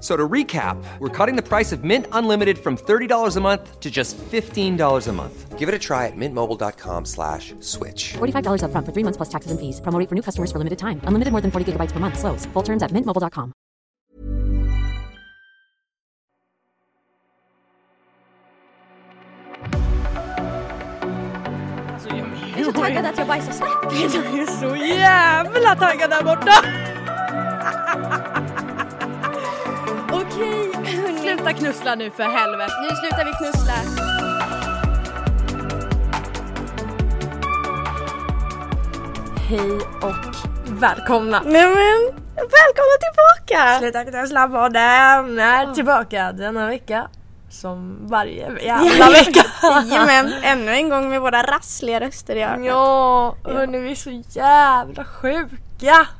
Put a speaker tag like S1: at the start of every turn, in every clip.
S1: So to recap, we're cutting the price of Mint Unlimited from $30 a month to just $15 a month. Give it a try at mintmobile.com slash switch.
S2: $45 up front for three months plus taxes and fees. Promo rate for new customers for limited time. Unlimited more than 40 gigabytes per month. Slows. Full terms at mintmobile.com.
S3: Jag är så taggad att jag bajsar snabbt.
S4: Jag är så jävla taggad där borta!
S3: Okej, hörni.
S4: Sluta knussla nu för helvete.
S3: Nu slutar vi knussla.
S4: Hej och välkomna!
S3: Nej men, välkomna tillbaka!
S4: Sluta knussla på den är tillbaka denna vecka. Som varje jävla vecka.
S3: Jajamän, ännu en gång med våra rassliga röster i öronen.
S4: Ja, hörni vi är så jävla sjuka!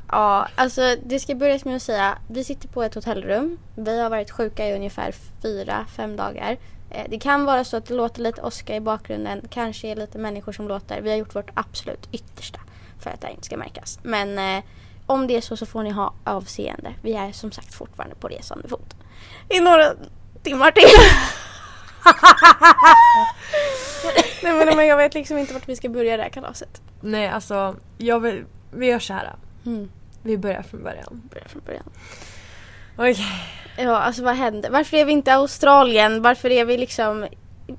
S3: Ja, alltså det ska börjas med att säga, vi sitter på ett hotellrum. Vi har varit sjuka i ungefär fyra, fem dagar. Eh, Det kan vara så att det låter lite åska i bakgrunden, kanske är lite människor som låter. Vi har gjort vårt absolut yttersta för att det här inte ska märkas. Men eh, om det är så så får ni ha avseende. Vi är som sagt fortfarande på resande fot. I några timmar till. Nej men, men jag vet liksom inte vart vi ska börja det här kalaset.
S4: Nej alltså, jag vill, vi gör så här.
S3: Mm.
S4: Vi börjar från början.
S3: Börja från början.
S4: Okej.
S3: Ja, alltså vad hände? Varför är vi inte i Australien? Varför är vi liksom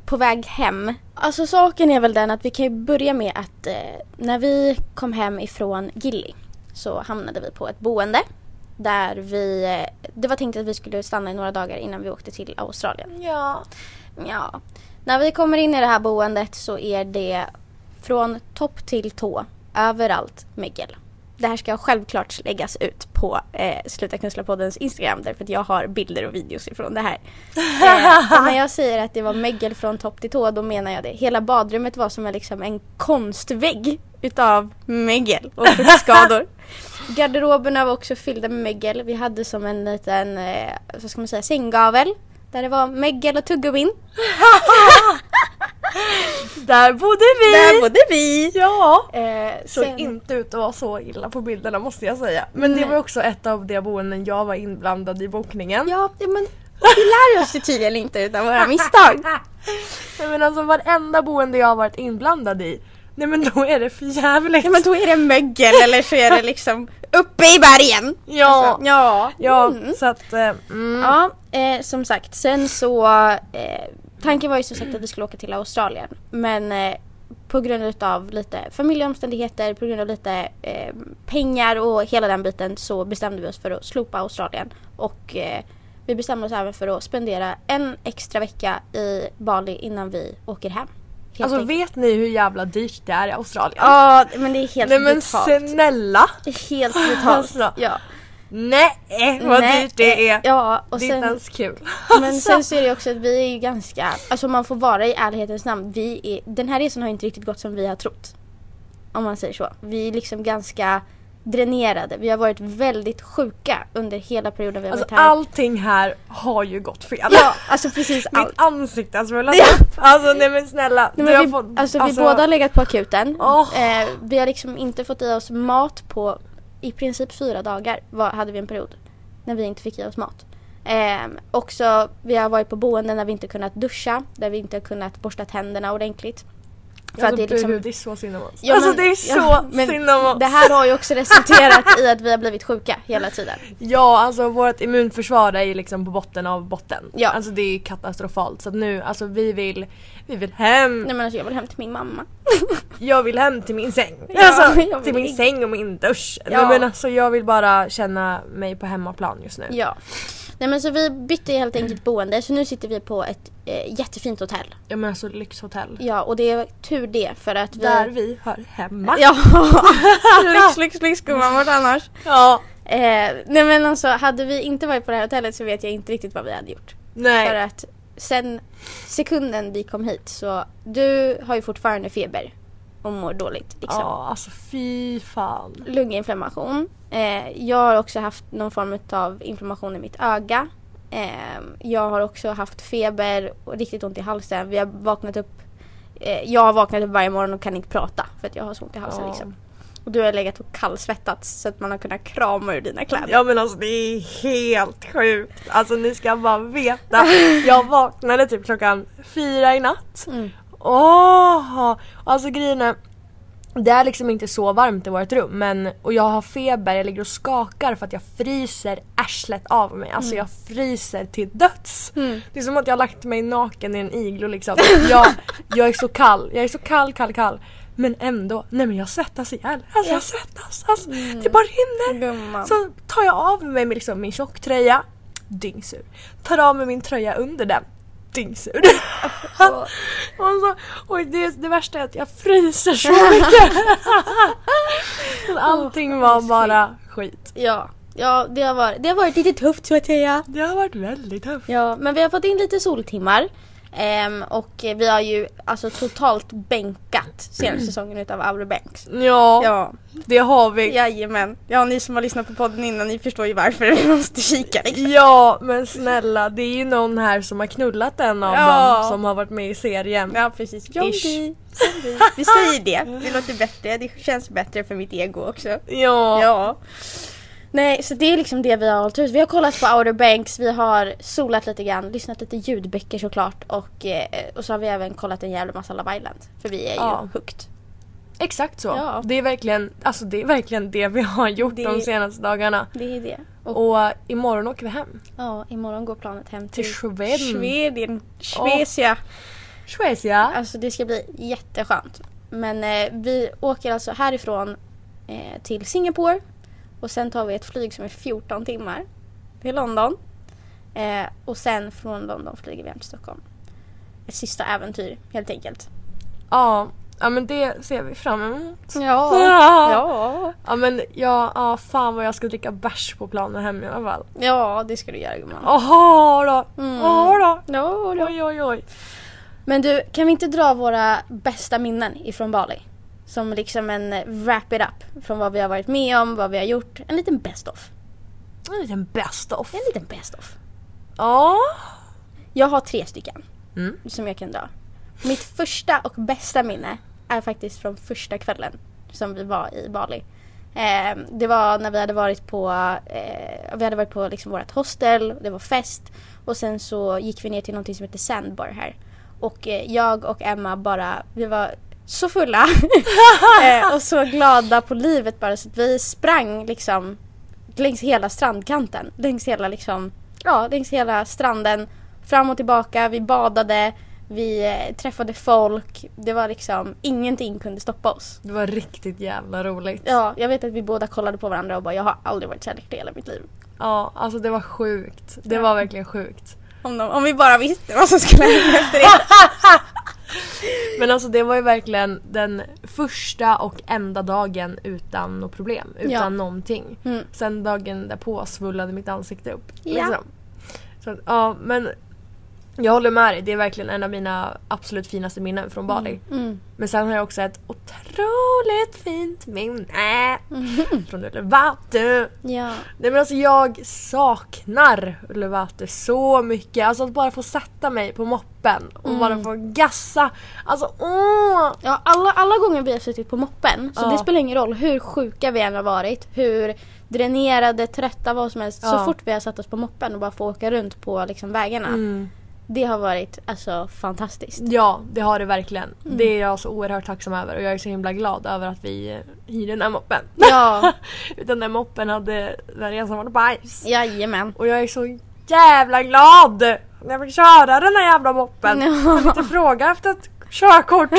S3: på väg hem? Alltså saken är väl den att vi kan ju börja med att eh, när vi kom hem ifrån Gilly så hamnade vi på ett boende där vi, eh, det var tänkt att vi skulle stanna i några dagar innan vi åkte till Australien.
S4: Ja.
S3: Ja. När vi kommer in i det här boendet så är det från topp till tå överallt mögel. Det här ska självklart läggas ut på eh, Sluta Knussla-poddens Instagram därför att jag har bilder och videos ifrån det här. Eh, och när jag säger att det var mögel från topp till tå då menar jag det. Hela badrummet var som en, liksom, en konstvägg utav mögel och fuktskador. Garderoberna var också fyllda med mögel. Vi hade som en liten, eh, vad ska man säga, sänggavel. Där det var mögel och tuggummin.
S4: Där bodde vi!
S3: Där bodde vi!
S4: Ja!
S3: Eh,
S4: såg
S3: sen,
S4: inte ut att vara så illa på bilderna måste jag säga. Men det
S3: Nej.
S4: var också ett av de boenden jag var inblandad i bokningen.
S3: ja, ja, men vi lär oss ju tydligen inte utan våra misstag.
S4: Nej men alltså varenda boende jag har varit inblandad i, nej men då är det för jävligt.
S3: Ja, men då är det mögel eller så är det liksom uppe i bergen.
S4: ja,
S3: Alltså, ja.
S4: ja,
S3: Mm.
S4: så att eh, mm.
S3: Ja, eh, som sagt. Sen så... Eh, tanken var ju som sagt att vi skulle åka till Australien. Men eh, på grund av lite familjeomständigheter, på grund av lite eh, pengar och hela den biten så bestämde vi oss för att slopa Australien. Och eh, vi bestämde oss även för att spendera en extra vecka i Bali innan vi åker hem. Helt
S4: Alltså
S3: enkelt.
S4: vet ni hur jävla dyrt det är i Australien?
S3: Ja, men det är helt
S4: nej men
S3: brutalt.
S4: snälla!
S3: Helt brutalt.
S4: Alltså,
S3: ja.
S4: Nej vad
S3: Nej, eh,
S4: dyrt det är! Alltså.
S3: Ja, och
S4: det är
S3: sen,
S4: inte ens kul.
S3: Men sen så är det också att vi är ju ganska, alltså man får vara i ärlighetens namn, vi är, den här resan har ju inte riktigt gått som vi har trott. Om man säger så. Vi är liksom ganska dränerade. Vi har varit väldigt sjuka under hela perioden vi har
S4: alltså
S3: varit här.
S4: allting här har ju gått fel.
S3: Ja, alltså precis
S4: Mitt
S3: allt.
S4: ansikte har svullat upp. Alltså nej men snälla.
S3: Nej,
S4: du
S3: men
S4: har
S3: vi,
S4: fått-
S3: alltså, vi båda har legat på akuten.
S4: Åh.
S3: Eh, vi har liksom inte fått i oss mat på i princip fyra dagar var, hade vi en period när vi inte fick i oss mat. Eh, också, vi har varit på boenden där vi inte kunnat duscha, där vi inte har kunnat borsta tänderna ordentligt. För att det är liksom
S4: det är så synd om oss.
S3: Ja,
S4: alltså
S3: men-
S4: det är
S3: ja,
S4: så
S3: men
S4: synd om oss.
S3: Det här har ju också resulterat i att vi har blivit sjuka hela tiden.
S4: Ja, alltså vårt immunförsvar är ju liksom på botten av botten.
S3: Ja.
S4: Alltså det är katastrofalt. Så att nu, alltså vi vill, vi vill hem.
S3: Nej men alltså jag vill hem till min mamma.
S4: Jag vill hem till min säng.
S3: Ja,
S4: alltså
S3: jag vill
S4: till min
S3: ligga.
S4: säng och min dusch.
S3: Ja.
S4: Nej, men alltså jag vill bara känna mig på hemmaplan just nu.
S3: Ja. Nej men så vi bytte helt enkelt boende så nu sitter vi på ett eh, jättefint hotell.
S4: Ja men alltså lyxhotell.
S3: Ja och det är tur det för att vi...
S4: Där vi hör hemma.
S3: Ja! lyx, lyx, lyx gumman, vart annars?
S4: Ja.
S3: Eh, nej men alltså hade vi inte varit på det här hotellet så vet jag inte riktigt vad vi hade gjort.
S4: Nej.
S3: För att sen sekunden vi kom hit så du har ju fortfarande feber och mår dåligt. Liksom.
S4: Ja alltså fy fan.
S3: lunginflammation. Eh, jag har också haft någon form av inflammation i mitt öga. Eh, jag har också haft feber och riktigt ont i halsen. Vi har vaknat upp, eh, jag har vaknat upp varje morgon och kan inte prata för att jag har så ont i halsen.
S4: Ja.
S3: Liksom. Och du har legat och kallsvettats så att man har kunnat krama ur dina kläder.
S4: Ja men alltså det är helt sjukt. Alltså ni ska bara veta. Jag vaknade typ klockan fyra i natt.
S3: Mm.
S4: Åh! Alltså grejen är, det är liksom inte så varmt i vårt rum men, och jag har feber, jag ligger och skakar för att jag fryser arslet av mig. Alltså jag fryser till döds. Det är som att jag har lagt mig naken i en iglo liksom. Jag, jag är så kall, jag är så kall, kall, kall. Men ändå, nej men jag svettas ihjäl. Alltså jag svettas, alltså, det bara rinner.
S3: Gumman.
S4: Så tar jag av mig liksom min tjocktröja, dyngsur. Tar av mig min tröja under den, dyngsur. och så, och det, det värsta är att jag fryser så mycket. Så Allting var bara skit.
S3: Ja, ja det, har varit, det har varit lite tufft så att säga.
S4: Det har varit väldigt tufft.
S3: Ja, men vi har fått in lite soltimmar. Ehm, och vi har ju alltså totalt bänkat senaste säsongen utav Aure Banks.
S4: Ja,
S3: Ja,
S4: det har vi.
S3: Jajamän. Ja, ni som har lyssnat på podden innan, ni förstår ju varför vi måste kika. Liksom.
S4: Ja men snälla det är ju någon här som har knullat en av
S3: Ja.
S4: dem som har varit med i serien.
S3: Ja, precis.
S4: Ish.
S3: Zombie. Zombie. Vi säger det. Det låter bättre. Det känns bättre för mitt ego också.
S4: Ja.
S3: Ja. Nej, så det är liksom det vi har hållit ut. Vi har kollat på Outer Banks, vi har solat lite grann, lyssnat lite ljudböcker såklart och, eh, och så har vi även kollat en jävla massa Love Island. För vi är ju
S4: Ja.
S3: hooked.
S4: Exakt så.
S3: Ja.
S4: Det, är verkligen, alltså det är verkligen det vi har gjort
S3: Det-
S4: de senaste dagarna.
S3: Det är det. Och
S4: Och eh, imorgon åker vi hem.
S3: ja, imorgon går planet hem till,
S4: Till Schweden.
S3: Schweden. Schwesia.
S4: Schweiz
S3: Alltså det ska bli jätteskönt. Men eh, vi åker alltså härifrån eh, till Singapore och sen tar vi ett flyg som är 14 timmar till London. Eh, och sen från London flyger vi hem till Stockholm. Ett sista äventyr helt enkelt.
S4: Ja. ja, men det ser vi fram emot.
S3: Ja.
S4: Ja,
S3: Ja,
S4: ja men ja, ja, fan vad jag ska dricka bärs på planen hem i alla fall.
S3: ja det ska du göra gumman.
S4: Jaha då.
S3: Mm.
S4: Ja då.
S3: Ja, ja.
S4: Oj oj oj.
S3: Men du, kan vi inte dra våra bästa minnen ifrån Bali? Som liksom en eh, wrap it up från vad vi har varit med om, vad vi har gjort. En liten best of.
S4: En liten best of.
S3: En liten best of.
S4: Ja.
S3: Jag har tre stycken
S4: Mm.
S3: som jag kan dra. Mitt första och bästa minne är faktiskt från första kvällen som vi var i Bali. Eh, det var när vi hade varit på, eh, vi hade varit på liksom vårt hostel, det var fest och sen så gick vi ner till någonting som heter Sandbar här. Och eh, jag och Emma bara, vi var så fulla eh, och så glada på livet bara så att vi sprang liksom längs hela strandkanten. Längs hela, liksom, ja, längs hela stranden. Fram och tillbaka, vi badade, vi eh, träffade folk. Det var liksom, ingenting kunde stoppa oss.
S4: Det var riktigt jävla roligt.
S3: Ja, jag vet att vi båda kollade på varandra och bara jag har aldrig varit så här lycklig i hela mitt liv.
S4: Ja, alltså det var sjukt. Det
S3: Ja.
S4: var verkligen sjukt.
S3: Om, de, om vi bara visste vad som skulle hända efter det.
S4: Men alltså det var ju verkligen den första och enda dagen utan något problem. Utan
S3: Ja.
S4: någonting.
S3: Mm.
S4: Sen dagen därpå svullnade mitt ansikte upp.
S3: Ja.
S4: Liksom. Så, att, ja, men jag håller med dig. Det är verkligen en av mina absolut finaste minnen från Bali.
S3: Mm.
S4: Men sen har jag också ett otroligt fint minne
S3: Mm.
S4: från Ulevatu.
S3: Ja.
S4: Nej men alltså jag saknar Ulevatu så mycket. Alltså att bara få sätta mig på moppen och bara få gassa. Alltså åh!
S3: Ja, alla, alla gånger vi har suttit på moppen, så
S4: Ja.
S3: det spelar ingen roll hur sjuka vi än har varit, hur dränerade, trötta, vad som helst. Så
S4: Ja.
S3: fort vi har satt oss på moppen och bara få åka runt på liksom, vägarna, Det har varit alltså fantastiskt.
S4: Ja, det har det verkligen. Det är jag så oerhört tacksam över och jag är så himla glad över att vi eh, hyrde den här moppen.
S3: Ja,
S4: Utan den moppen hade den resan varit bajs.
S3: jajamän.
S4: Och jag är så jävla glad när jag fick köra den här jävla moppen.
S3: Ja.
S4: Jag inte fråga efter ett körkort.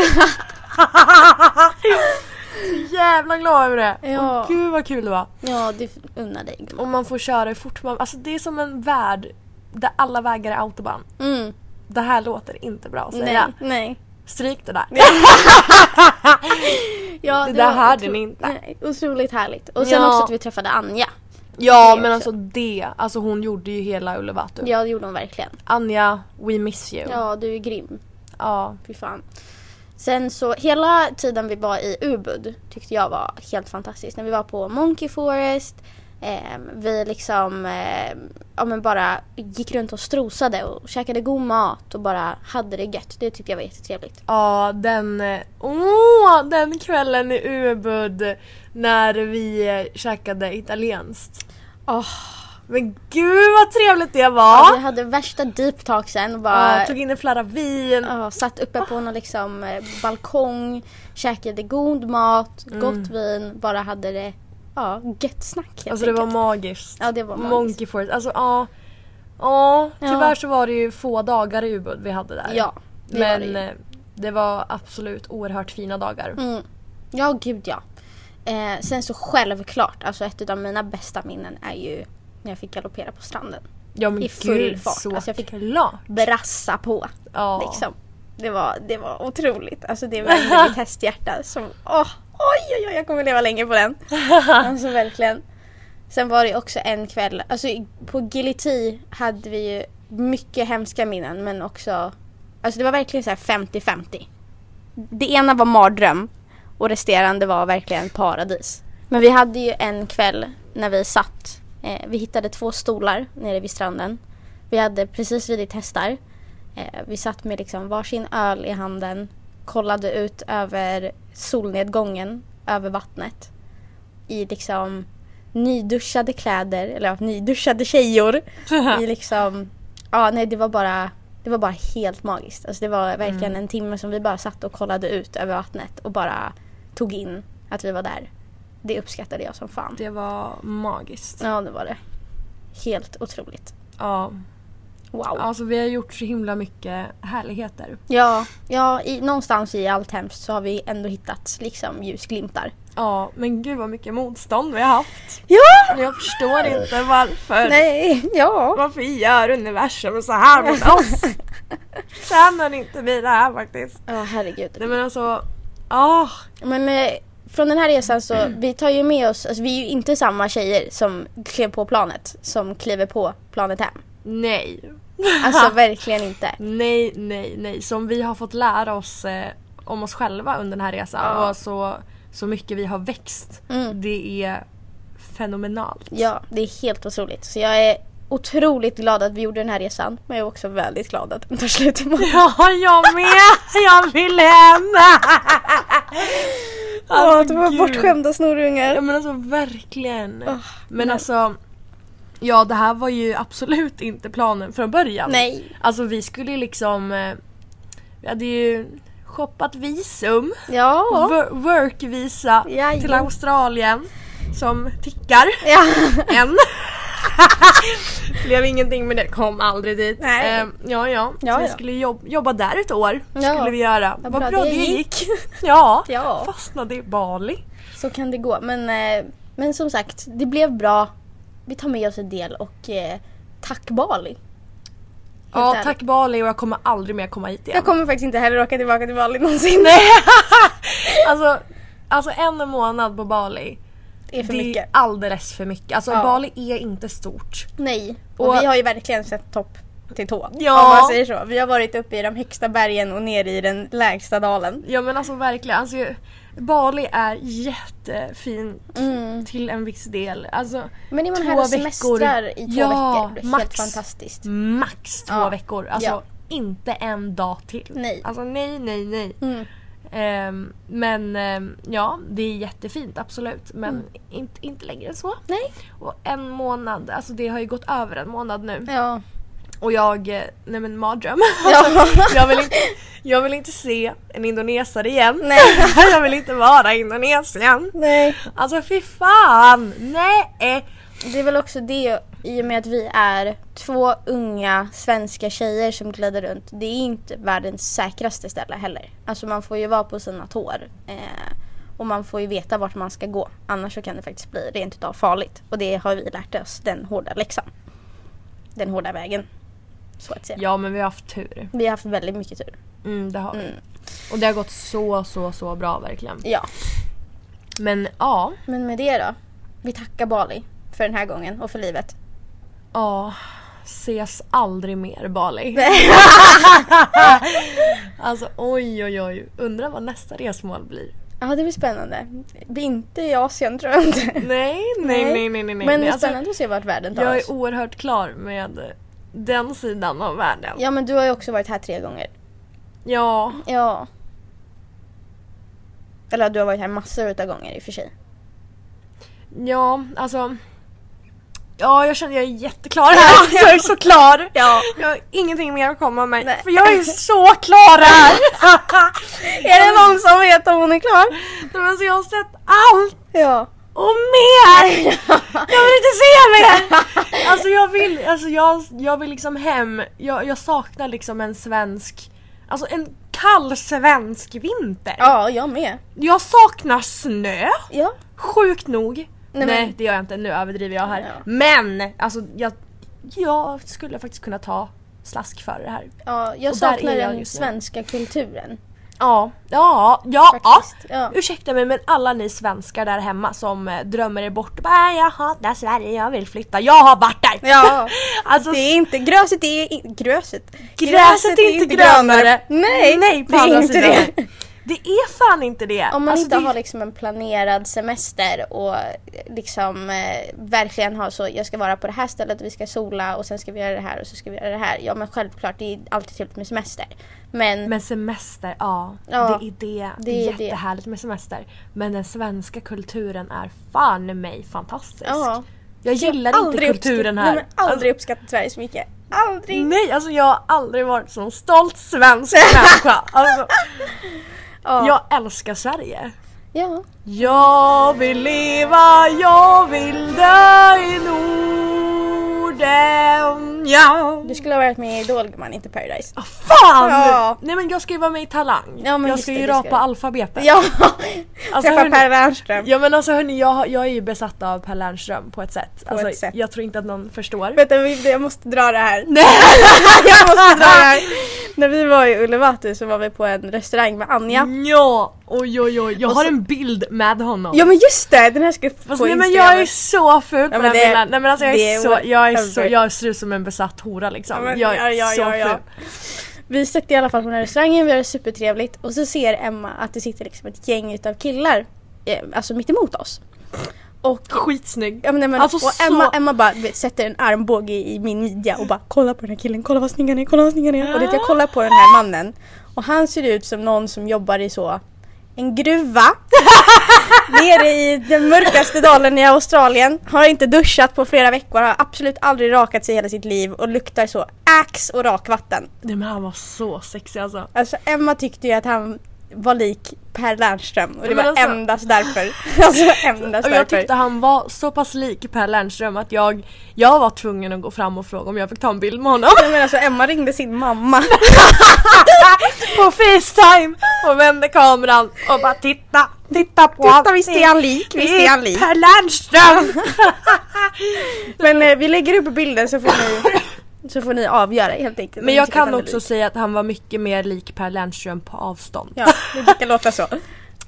S4: så jävla glad över det.
S3: Ja.
S4: Och gud vad kul det var.
S3: Ja, du unnar dig. gumman.
S4: Och man får köra hur fort man... Alltså det är som en värld där alla vägar är autobahn.
S3: Mm.
S4: Det här låter inte bra att
S3: Nej,
S4: säga.
S3: nej.
S4: Stryk det där.
S3: Ja,
S4: Det där
S3: var
S4: hörde
S3: otro-
S4: ni inte.
S3: Nej, Otroligt härligt. Och sen
S4: Ja.
S3: också att vi träffade Anja.
S4: Ja
S3: Det
S4: men
S3: också.
S4: alltså det, alltså hon gjorde ju hela Ulevatu.
S3: Ja, det gjorde hon verkligen.
S4: Anja, we miss you. Ja.
S3: Ja, du är grym. Fy fan. Sen så hela tiden vi var i Ubud tyckte jag var helt fantastiskt. När vi var på Monkey Forest. Eh, vi liksom eh, ja, men bara gick runt och strosade och käkade god mat och bara hade det gött. Det tyckte jag var jättetrevligt.
S4: Ja, den, eh, åh, den kvällen i Ubud när vi eh, käkade italienskt.
S3: Åh.
S4: Men gud vad trevligt det
S3: Ja. Vi
S4: var!
S3: hade värsta deep talksen och bara
S4: Ja, tog in en flarra vin.
S3: ja, satt uppe på någon liksom, eh, balkong, käkade god mat, gott vin, bara hade det ja, gött snack helt
S4: Mm. Alltså det var
S3: enkelt.
S4: magiskt.
S3: Ja, det var magiskt.
S4: Monkey Forest, alltså ja. Ja,
S3: Ja.
S4: tyvärr så var det ju få dagar i Ubud vi hade där.
S3: Ja, det var
S4: Men
S3: det ju. Mm,
S4: eh, det var absolut oerhört fina dagar.
S3: Ja, gud ja. Eh, sen så självklart, alltså ett av mina bästa minnen är ju när jag fick galoppera på stranden.
S4: Ja men
S3: i full
S4: gud
S3: fart.
S4: så
S3: Alltså, jag fick-
S4: klart.
S3: Brassa på,
S4: Ja.
S3: liksom. Det var, det var otroligt. Alltså det var mitt hästhjärta som, åh, oj, oj, oj, jag kommer leva länge på den. Alltså verkligen. Sen var det också en kväll, alltså i- på Gillity hade vi ju mycket hemska minnen men också, alltså det var verkligen så här 50-50. Det ena var mardröm och resterande var verkligen paradis. Men vi hade ju en kväll när vi satt, eh, vi hittade två stolar nere vid stranden. Vi hade precis ridit hästar. Eh, vi satt med liksom varsin öl i handen, kollade ut över solnedgången, över vattnet. I liksom nyduschade kläder, eller ja, nyduschade tjejor. I liksom, ja nej det var bara, det var bara helt magiskt. Alltså det var verkligen
S4: Mm.
S3: en timme som vi bara satt och kollade ut över vattnet och bara tog in att vi var där. Det uppskattade jag som fan.
S4: Det var magiskt.
S3: Ja det var det. Helt otroligt.
S4: Ja.
S3: Wow.
S4: Alltså vi har gjort så himla mycket härligheter.
S3: Ja, ja i, någonstans i allt hemskt så har vi ändå hittat liksom ljusglimtar.
S4: Ja, men gud vad mycket motstånd vi har haft.
S3: Ja!
S4: Jag förstår inte varför.
S3: Nej, ja.
S4: Varför gör universum så här mot oss? Känner inte vi det här faktiskt?
S3: Ja, herregud.
S4: Nej men alltså, ah,
S3: Men eh, från den här resan så, vi tar ju med oss, alltså, vi är ju inte samma tjejer som klev på planet, som kliver på planet hem.
S4: nej.
S3: Alltså verkligen inte.
S4: Nej, nej, nej. Som vi har fått lära oss eh, om oss själva under den här resan
S3: Ja.
S4: och så, så mycket vi har växt. Det är fenomenalt.
S3: Ja, det är helt otroligt. Så jag är otroligt glad att vi gjorde den här resan, men jag är också väldigt glad att den tar slut imorgon.
S4: Ja, jag med! Jag vill hem!
S3: Ja, de var
S4: gud.
S3: bortskämda
S4: Ja
S3: snorungar.
S4: men alltså verkligen. men
S3: nej.
S4: alltså, ja det här var ju absolut inte planen från början.
S3: Nej.
S4: Alltså vi skulle ju liksom, eh, vi hade ju shoppat visum,
S3: Ja.
S4: wor- workvisa
S3: Jajamän.
S4: till Australien som tickar
S3: ja.
S4: än. Blev ingenting med det, kom aldrig dit.
S3: Nej.
S4: Ehm, ja, ja.
S3: Ja,
S4: så vi
S3: ja.
S4: skulle jobb- jobba där ett år.
S3: Ja.
S4: Skulle vi göra. Vad bra, det gick. Ja.
S3: Ja.
S4: fastnade i Bali.
S3: Så kan det gå. Men, eh, men som sagt, det blev bra. Vi tar med oss en del och eh, tack Bali.
S4: Ja,
S3: ärligt.
S4: tack Bali och jag kommer aldrig mer komma hit igen.
S3: Jag kommer faktiskt inte heller åka tillbaka till Bali någonsin.
S4: Nej. alltså, alltså en månad på Bali,
S3: Det är för
S4: det
S3: mycket.
S4: är alldeles för mycket. Alltså
S3: Ja.
S4: Bali är inte stort.
S3: Nej. Och,
S4: Och-
S3: vi har ju verkligen sett topp till tå.
S4: Ja.
S3: Om man säger så. Vi har varit uppe i de högsta bergen och ner i den lägsta dalen.
S4: Ja men alltså verkligen. Alltså, Bali är jättefint
S3: Mm.
S4: till en viss del. Alltså,
S3: Men är man
S4: två
S3: här och
S4: veckor-
S3: semestrar i två Mm.
S4: ja,
S3: veckor, det är
S4: max,
S3: helt fantastiskt.
S4: Max två
S3: Ja.
S4: veckor. Alltså
S3: Ja.
S4: inte en dag till.
S3: Nej.
S4: Alltså nej, nej, nej.
S3: Mm.
S4: Ehm, men ehm, ja, det är jättefint absolut. Men
S3: Mm.
S4: inte, inte längre än så.
S3: Nej.
S4: Och en månad, alltså det har ju gått över en månad nu.
S3: Ja.
S4: Och jag, eh, nej men mardröm. Alltså,
S3: Ja.
S4: jag, vill inte, jag vill inte se en indonesare igen.
S3: Nej.
S4: jag vill inte vara i Indonesien.
S3: Nej.
S4: Alltså fy fan! Nej! eh.
S3: Det är väl också det i och med att vi är två unga svenska tjejer som glider runt. Det är inte världens säkraste ställe heller. Alltså man får ju vara på sina tår. Eh, och man får ju veta vart man ska gå. Annars så kan det faktiskt bli rent utav farligt. Och det har vi lärt oss den hårda läxan. Den hårda vägen. Så att säga.
S4: Ja men vi har haft tur.
S3: Vi har haft väldigt mycket tur.
S4: Mm, det har vi. Och det har gått så, så, så bra verkligen.
S3: Ja.
S4: Men ja,
S3: Men med det då. Vi tackar Bali för den här gången och för livet.
S4: ja. Ses aldrig mer Bali. alltså oj oj oj. Undrar vad nästa resmål blir.
S3: Ja det blir spännande. Det är inte i Asien tror jag inte.
S4: Nej, nej, nej, nej, nej. nej.
S3: Men det är
S4: Alltså,
S3: spännande att se vart världen tar
S4: Jag
S3: oss.
S4: är oerhört klar med den sidan av världen.
S3: Ja men du har ju också varit här tre gånger.
S4: Ja,
S3: Ja. Eller du har varit här massor utav gånger i och för sig.
S4: ja, alltså. Ja, jag känner jag är jätteklar här. Jag är så klar.
S3: Ja.
S4: Jag har ingenting mer att komma med.
S3: Nej.
S4: För jag är så klar här.
S3: Är det någon som vet om hon är klar?
S4: Men alltså, jag har sett allt
S3: Ja.
S4: och mer. Jag vill inte se mer. Alltså jag vill, alltså jag, jag vill liksom hem. Jag, jag saknar liksom en svensk, alltså en kall svensk vinter.
S3: Ja, jag med.
S4: Jag saknar snö.
S3: Ja.
S4: Sjukt nog. Nej,
S3: men-
S4: det gör jag inte, nu överdriver jag här.
S3: Ja.
S4: Men alltså jag, jag skulle faktiskt kunna ta slask för det här.
S3: ja jag
S4: Och där
S3: saknar
S4: är jag
S3: den
S4: just nu.
S3: svenska kulturen.
S4: Ja, ja, ja, ja.
S3: Faktiskt, ja.
S4: Ursäkta mig men alla ni svenskar där hemma som eh, drömmer er bort och bara jag hatar Sverige, jag vill flytta. Jag har varit där!
S3: Ja.
S4: alltså
S3: Det är inte gröset, det är in, gröset.
S4: gräset är inte grönare.
S3: Nej,
S4: Nej på
S3: det är
S4: andra
S3: inte
S4: sidan.
S3: det.
S4: Det är fan inte det.
S3: Om man
S4: Alltså,
S3: inte
S4: det...
S3: har liksom en planerad semester och liksom eh, verkligen har så, jag ska vara på det här stället och vi ska sola och sen ska vi göra det här och så ska vi göra det här. Ja men självklart, det är alltid trevligt med semester. Men,
S4: Men semester, ja.
S3: Ja,
S4: det är det. Det,
S3: det
S4: är
S3: är det.
S4: jättehärligt med semester. Men den svenska kulturen är fan i mig fantastisk.
S3: ja.
S4: Jag gillar inte kulturen
S3: uppskatt-
S4: här.
S3: Nej, men aldrig uppskattat Sverige så mycket. Aldrig!
S4: Alltså, nej, alltså jag har aldrig varit så stolt svensk människa. Alltså,
S3: Ja.
S4: Jag älskar Sverige.
S3: ja.
S4: Jag vill leva, jag vill dö i Norden. Ja.
S3: Du skulle ha varit med i Idol gumman, inte Paradise.
S4: Oh, Fan!
S3: Ja.
S4: Nej men jag ska ju vara med i Talang.
S3: Ja, men
S4: jag
S3: just
S4: ska
S3: det,
S4: ju
S3: det ska
S4: rapa
S3: du.
S4: alfabetet.
S3: Ja!
S4: Alltså,
S3: Träffa
S4: hörni-
S3: Per Wernström.
S4: Ja men alltså hörni, jag, har- jag är ju besatt av Per Lernström på ett sätt. På alltså,
S3: ett sätt.
S4: Jag tror inte att någon förstår.
S3: Vänta, vi- jag måste dra det här. Nej! jag måste dra det här. När vi var i Ulevatu så var vi på en restaurang med Anja.
S4: Ja, oj oj oj. Jag
S3: Och
S4: har
S3: så-
S4: en bild med honom.
S3: Ja men just det, den här ska upp
S4: Fast,
S3: på
S4: nej, men
S3: Instagram.
S4: jag är så ful på
S3: Ja,
S4: den
S3: men det-
S4: bilden. Nej men alltså jag
S3: det
S4: är,
S3: är
S4: så, jag är så,
S3: whatever.
S4: jag ser ut som en besatt hora liksom.
S3: Ja, men-
S4: jag är
S3: ja, ja,
S4: så
S3: ja, ja.
S4: ful.
S3: Vi sitter i alla fall på den här restaurangen, vi har det supertrevligt och så ser Emma att det sitter liksom ett gäng utav killar, eh, alltså mitt emot oss. Och,
S4: Skitsnygg.
S3: ja, men, nej, men,
S4: Alltså,
S3: och
S4: så-
S3: Emma, Emma bara du vet, sätter en armbåge i, i min midja och bara kolla på den här killen, kolla vad snygg han är, kolla vad snygg han är. Och det, jag kollar på den här mannen och han ser ut som någon som jobbar i så en gruva nere i den mörkaste dalen i Australien. Har inte duschat på flera veckor, har absolut aldrig rakat sig i hela sitt liv och luktar så ax och rakvatten.
S4: Nej men han var så sexig alltså.
S3: Alltså Emma tyckte ju att han var lik Per Lernström och det
S4: Men
S3: var
S4: alltså-
S3: endast därför. Alltså endast
S4: Och jag
S3: därför.
S4: tyckte han var så pass lik Per Lernström att jag, jag var tvungen att gå fram och fråga om jag fick ta en bild med honom.
S3: Men alltså Emma ringde sin mamma.
S4: på facetime och vände kameran och bara titta, titta på
S3: Titta visst är han lik, visst är han lik.
S4: Per Lernström!
S3: Men eh, vi lägger upp bilden så får ni, så får ni avgöra helt enkelt.
S4: Men
S3: Ni
S4: jag
S3: tycker att
S4: kan
S3: han är
S4: också
S3: lik.
S4: säga att han var mycket mer lik Per Lernström på avstånd.
S3: Ja, det brukar låta så.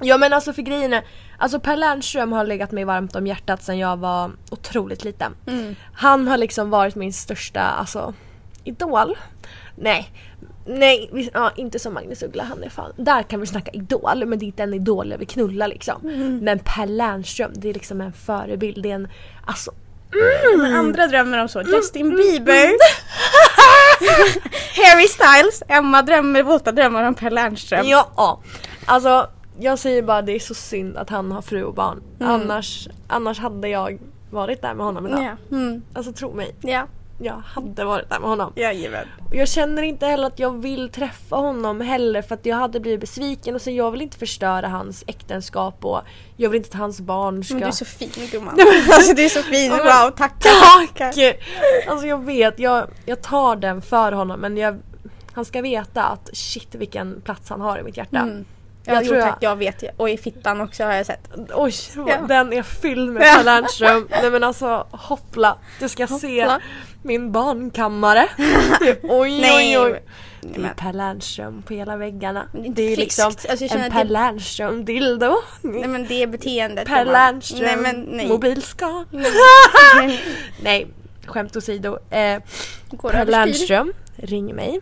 S4: Ja men alltså för grejen är, alltså Per Lernström har legat mig varmt om hjärtat sedan jag var otroligt liten.
S3: Mm.
S4: Han har liksom varit min största alltså, idol. Nej, nej vi, ja, inte som Magnus Uggla, han är fan, där kan vi snacka idol men det är inte en idol jag vill knulla liksom.
S3: Mm.
S4: Men Per Lernström det är liksom en förebild, det är en, alltså
S3: Men andra drömmer om så. Justin Bieber. Mm. Harry Styles. Emma drömmer våta drömmar om Per Lernström.
S4: Ja, ja. Alltså jag säger bara det är så synd att han har fru och barn.
S3: Mm.
S4: Annars, annars hade jag varit där med honom idag.
S3: Ja. Mm.
S4: Alltså tro mig.
S3: ja.
S5: jag hade varit där med honom.
S6: Jajamän.
S5: Och Jag känner inte heller att jag vill träffa honom heller för att jag hade blivit besviken och sen jag vill inte förstöra hans äktenskap och jag vill inte att hans barn ska...
S6: Men du är så fin gumman. alltså du är så fin. Wow, tack.
S5: Tack! Alltså jag vet, jag, jag tar den för honom men jag, han ska veta att shit vilken plats han har i mitt hjärta.
S6: Mm. Ja,
S5: Jag
S6: jo,
S5: tror jag-
S6: tack, jag vet ju. Och i fittan också har jag sett.
S5: Oj, vad-
S6: Ja.
S5: den är fylld med Pelle Ernström. Nej men alltså hoppla, du ska se
S6: Hoppla.
S5: min barnkammare. oj oj
S6: Nej.
S5: oj. Det är
S6: men-
S5: Per Lernström på hela väggarna.
S6: det är inte
S5: Det är
S6: friskt.
S5: liksom
S6: Alltså, jag känner
S5: en
S6: att
S5: Per
S6: det-
S5: Lernström dildo.
S6: Nej men det beteendet.
S5: Per
S6: gumman.
S5: Lernström
S6: Nej men nej.
S5: mobilskal. Nej, skämt åsido. Eh,
S6: Går överstyr.
S5: per
S6: Mm.
S5: Lernström, ring mig.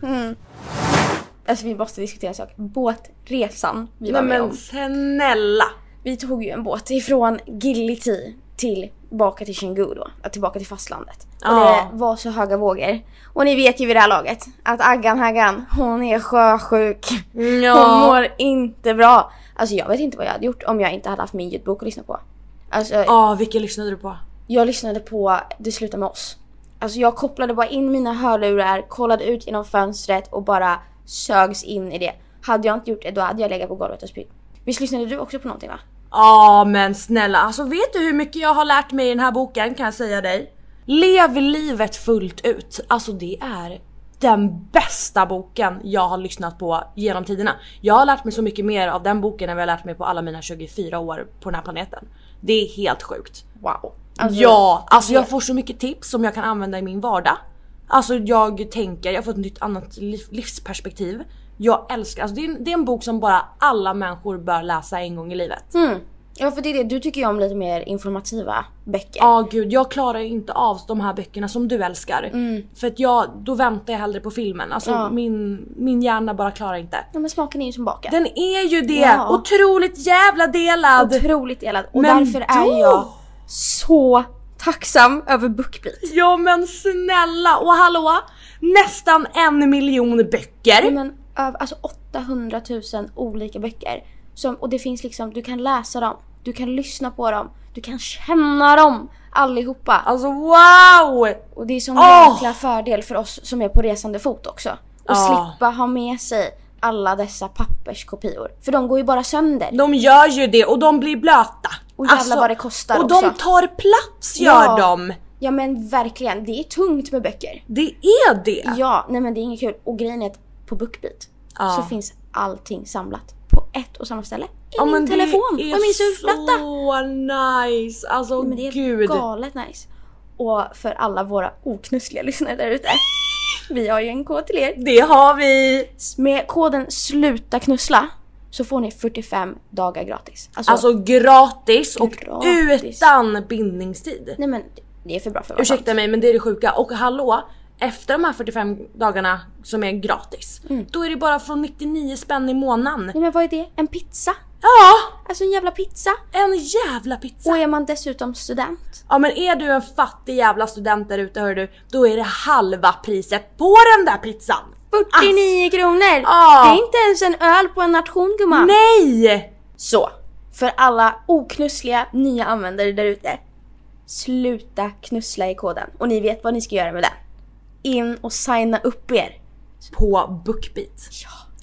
S6: Alltså vi måste diskutera en sak. Båtresan vi var
S5: Nej
S6: med
S5: men
S6: om.
S5: snälla!
S6: Vi tog ju en båt ifrån Gillity till tillbaka till Xingu då. Ja, Tillbaka till fastlandet. Och
S5: Ja.
S6: det var så höga vågor. Och ni vet ju vid det här laget att Aggan Haggan, hon är sjösjuk. Hon mår inte bra. Alltså jag vet inte vad jag hade gjort om jag inte hade haft min ljudbok att lyssna på. Alltså
S5: Ja, Ah, vilken lyssnade du på?
S6: jag lyssnade på Det slutar med oss. Alltså jag kopplade bara in mina hörlurar, kollade ut genom fönstret och bara sögs in i det. Hade jag inte gjort det då hade jag legat på golvet och spytt. Visst lyssnade du också på någonting va?
S5: Ja men snälla, alltså vet du hur mycket jag har lärt mig i den här boken kan jag säga dig? Lev livet fullt ut, alltså det är den bästa boken jag har lyssnat på genom tiderna. Jag har lärt mig så mycket mer av den boken än vad jag har lärt mig på alla mina 24 år på den här planeten. Det är helt sjukt.
S6: Wow. Alltså,
S5: ja, alltså jag får så mycket tips som jag kan använda i min vardag. Alltså jag tänker, jag får ett nytt annat liv- livsperspektiv. Jag älskar, alltså det är, en, det är en bok som bara alla människor bör läsa en gång i livet.
S6: Ja för det är det, du tycker ju om lite mer informativa böcker.
S5: Ja gud, jag klarar ju inte av de här böckerna som du älskar.
S6: Mm.
S5: För att jag, då väntar jag hellre på filmen. Alltså min, min hjärna bara klarar inte.
S6: Ja, men smaken är ju som baken.
S5: Den är ju det!
S6: Ja.
S5: Otroligt jävla delad!
S6: Otroligt delad. Och
S5: Men
S6: därför är
S5: då-
S6: jag så tacksam över BookBeat.
S5: Ja men snälla! Och hallå! Nästan en miljon böcker!
S6: Men över, alltså 800 000 olika böcker. Som, och det finns liksom, du kan läsa dem, du kan lyssna på dem, du kan känna dem allihopa.
S5: Alltså wow!
S6: Och det är som
S5: Åh!
S6: en jäkla fördel för oss som är på resande fot också. Och
S5: Ja.
S6: slippa ha med sig alla dessa papperskopior. För de går ju bara sönder.
S5: De gör ju det och de blir blöta. Alltså,
S6: Och jävlar vad det kostar
S5: Och de
S6: också.
S5: tar plats gör
S6: Ja.
S5: de!
S6: Ja men verkligen, det är tungt med böcker.
S5: Det är det!
S6: Ja, nej men det är inget kul. Och grejen är att på BookBeat
S5: Ja.
S6: så finns allting samlat på ett och samma ställe. I min
S5: men det
S6: telefon och min surfplatta.
S5: så nice! Alltså
S6: Men det är
S5: gud.
S6: galet nice. Och för alla våra oknussliga lyssnare där ute. Vi har ju en kod till er.
S5: Det har vi!
S6: Med koden SLUTA KNUSSLA så får ni 45 dagar gratis. Alltså,
S5: Alltså gratis och
S6: Gratis.
S5: utan bindningstid.
S6: nej men det är för bra för att vara
S5: Ursäkta
S6: sant.
S5: mig men det är det sjuka. Och hallå, efter de här 45 dagarna som är gratis,
S6: Mm.
S5: då är det bara från 99 spänn i månaden.
S6: Nej men vad är det? En pizza?
S5: Ja!
S6: Alltså en jävla pizza?
S5: En jävla pizza!
S6: Och är man dessutom student?
S5: Ja men är du en fattig jävla student där ute hör du, då är det halva priset på den där pizzan!
S6: 49 kronor!
S5: Ja.
S6: Det är inte ens en öl på en nation gumman!
S5: Ah, Nej!
S6: Så, för alla oknussliga nya användare där ute. Sluta knussla i koden och ni vet vad ni ska göra med den. In och signa upp er.
S5: på BookBeat.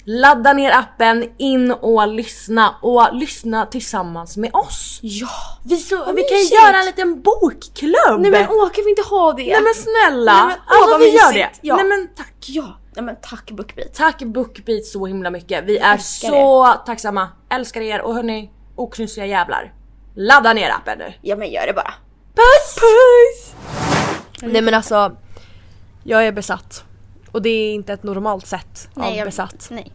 S5: Ladda ner appen, in och lyssna och lyssna tillsammans med oss.
S6: Ja!
S5: Vi, så, vi kan ju
S6: mysigt.
S5: göra en liten bokklubb!
S6: Nej men åh, kan vi inte ha det?
S5: Nej, men
S6: Nej,
S5: snälla!
S6: men, åh,
S5: alltså
S6: vad
S5: vi gör det!
S6: mysigt. Ja.
S5: Nej men tack!
S6: Ja, nej men tack BookBeat.
S5: Tack BookBeat så himla mycket. Vi är
S6: Älskar
S5: så tacksamma. Älskar er och hörni, oknussiga jävlar. Ladda ner appen nu.
S6: Ja men gör det bara.
S5: Puss! Puss! Nej men alltså, jag är besatt. Och det är inte ett normalt sätt av
S6: jag,
S5: besatt.
S6: Nej,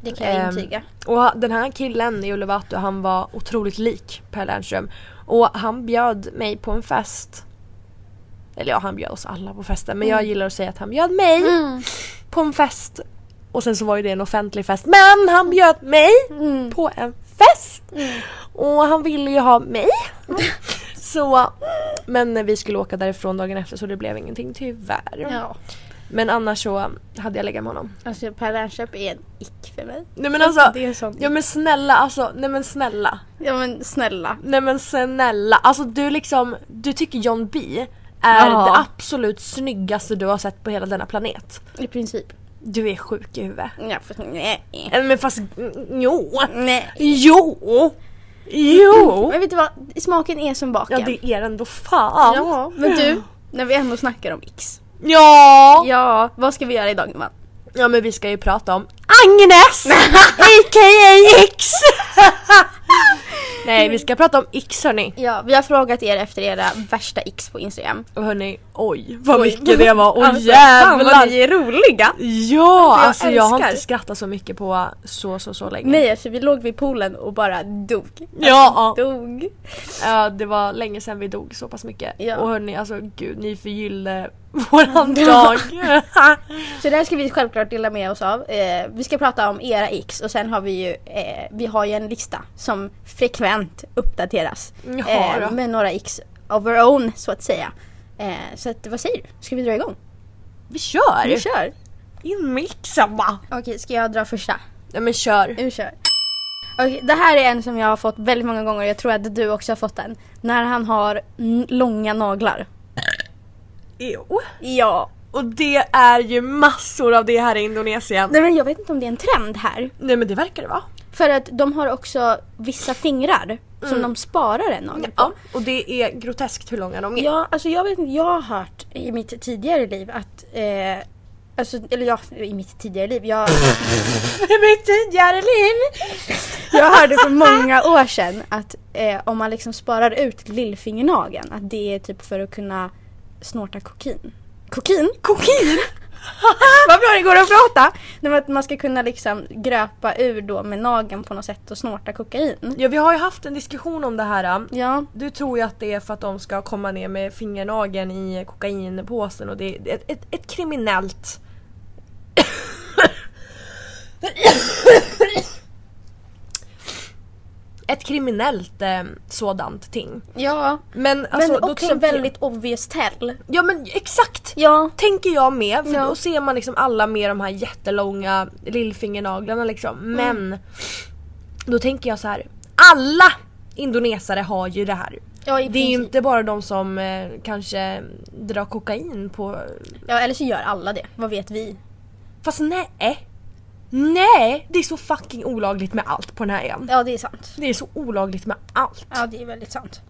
S6: det kan jag
S5: Ehm,
S6: intyga.
S5: Och ha- den här killen, Neo Lovato, han var otroligt lik Per Lernström. Och han bjöd mig på en fest. Eller ja, han bjöd oss alla på festen men jag gillar att säga att han bjöd mig på en fest. Och sen så var ju det en offentlig fest men han bjöd mig på en fest! Och han ville ju ha mig. så, men vi skulle åka därifrån dagen efter så det blev ingenting tyvärr.
S6: Ja,
S5: Men annars så hade jag legat med honom.
S6: alltså Per Lernström är en ick för mig.
S5: Nej men alltså,
S6: Det är en sån-
S5: ja men snälla alltså, nej men snälla.
S6: Ja men snälla.
S5: Nej men snälla, alltså du liksom, du tycker John B
S4: är
S6: Ja.
S4: det absolut snyggaste du har sett på hela denna planet.
S6: I princip.
S4: Du är sjuk i huvudet.
S6: Ja, för, nej.
S4: Äh, Men fast mm, jo. Mm.
S6: nej.
S4: Jo. Jo.
S6: Men vet du vad? Smaken är som baken.
S4: Ja det är ändå fan.
S6: Ja, men du, när vi ändå snackar om X.
S4: Ja.
S6: Ja, vad ska vi göra idag man?
S4: Ja men vi ska ju prata om Agnes! A.k.a. X! Nej vi ska prata om X hörni.
S6: Ja, vi har frågat er efter era värsta X på Instagram.
S4: Och hörni, oj vad
S6: Oj.
S4: mycket det var. Åh
S6: Alltså, Fan vad
S4: jävlar!
S6: ni är roliga!
S4: Ja!
S6: jag
S4: Alltså jag har
S6: älskar.
S4: inte skrattat så mycket på så så så länge.
S6: Nej, alltså vi låg vid poolen och bara dog.
S4: Ja, ja.
S6: Dog.
S4: Alltså, ja, det var länge sedan vi dog så pass mycket.
S6: Ja.
S4: Och hörni, alltså gud ni förgyllde våran dag.
S6: Så det här ska vi självklart dela med oss av. Eh, vi ska prata om era X och sen har vi ju, eh, vi har ju en lista som frekvent uppdateras. Eh,
S4: Jaha, då.
S6: med några X of our own så att säga. Eh, så att, vad säger du? Ska vi dra igång?
S4: vi kör!
S6: Vi kör!
S4: In med Xen va!
S6: Okej, ska jag dra första?
S4: Ja men kör.
S6: Nu kör. Okej, det här är en som jag har fått väldigt många gånger och jag tror att du också har fått den. När han har n- långa naglar.
S4: Jo.
S6: Ja.
S4: Och det är ju massor av det här i Indonesien.
S6: Nej men jag vet inte om det är en trend här.
S4: Nej men det verkar det vara.
S6: För att de har också vissa fingrar som de sparar en nagel på.
S4: Ja, och det är groteskt hur långa de är.
S6: Ja, alltså jag vet inte, jag har hört i mitt tidigare liv att eh, Alltså, eller ja, i mitt tidigare liv. Jag,
S4: I mitt tidigare liv!
S6: jag hörde för många år sedan att eh, om man liksom sparar ut lillfingernageln, att det är typ för att kunna snorta kokain. Kokain? Kokain? Vad bra det går att prata! Nej, men att man ska kunna liksom gröpa ur då med nageln på något sätt och snorta kokain.
S4: Ja vi har ju haft en diskussion om det här. um,
S6: Ja,
S4: Du tror ju att det är för att de ska komma ner med fingernageln i kokainpåsen och det är ett, ett, ett kriminellt... ett kriminellt eh, sådant ting.
S6: ja.
S4: Men,
S6: Men
S4: alltså, då
S6: också
S4: tänker-
S6: väldigt obvious tell.
S4: Ja men exakt!
S6: Ja.
S4: tänker jag med. För
S6: Ja.
S4: Då ser man liksom alla med de här jättelånga lillfingernaglarna liksom. Men
S6: Mm.
S4: då tänker jag så här. Alla indonesare har ju det här.
S6: ja i
S4: Det är ju
S6: princip.
S4: inte bara de som eh, kanske drar kokain på...
S6: Ja, eller så gör alla det. Vad vet vi?
S4: Fast nej! Nej! Det är så fucking olagligt med allt på den här ön.
S6: Ja, det är sant.
S4: Det är så olagligt med allt.
S6: Ja, det är väldigt sant.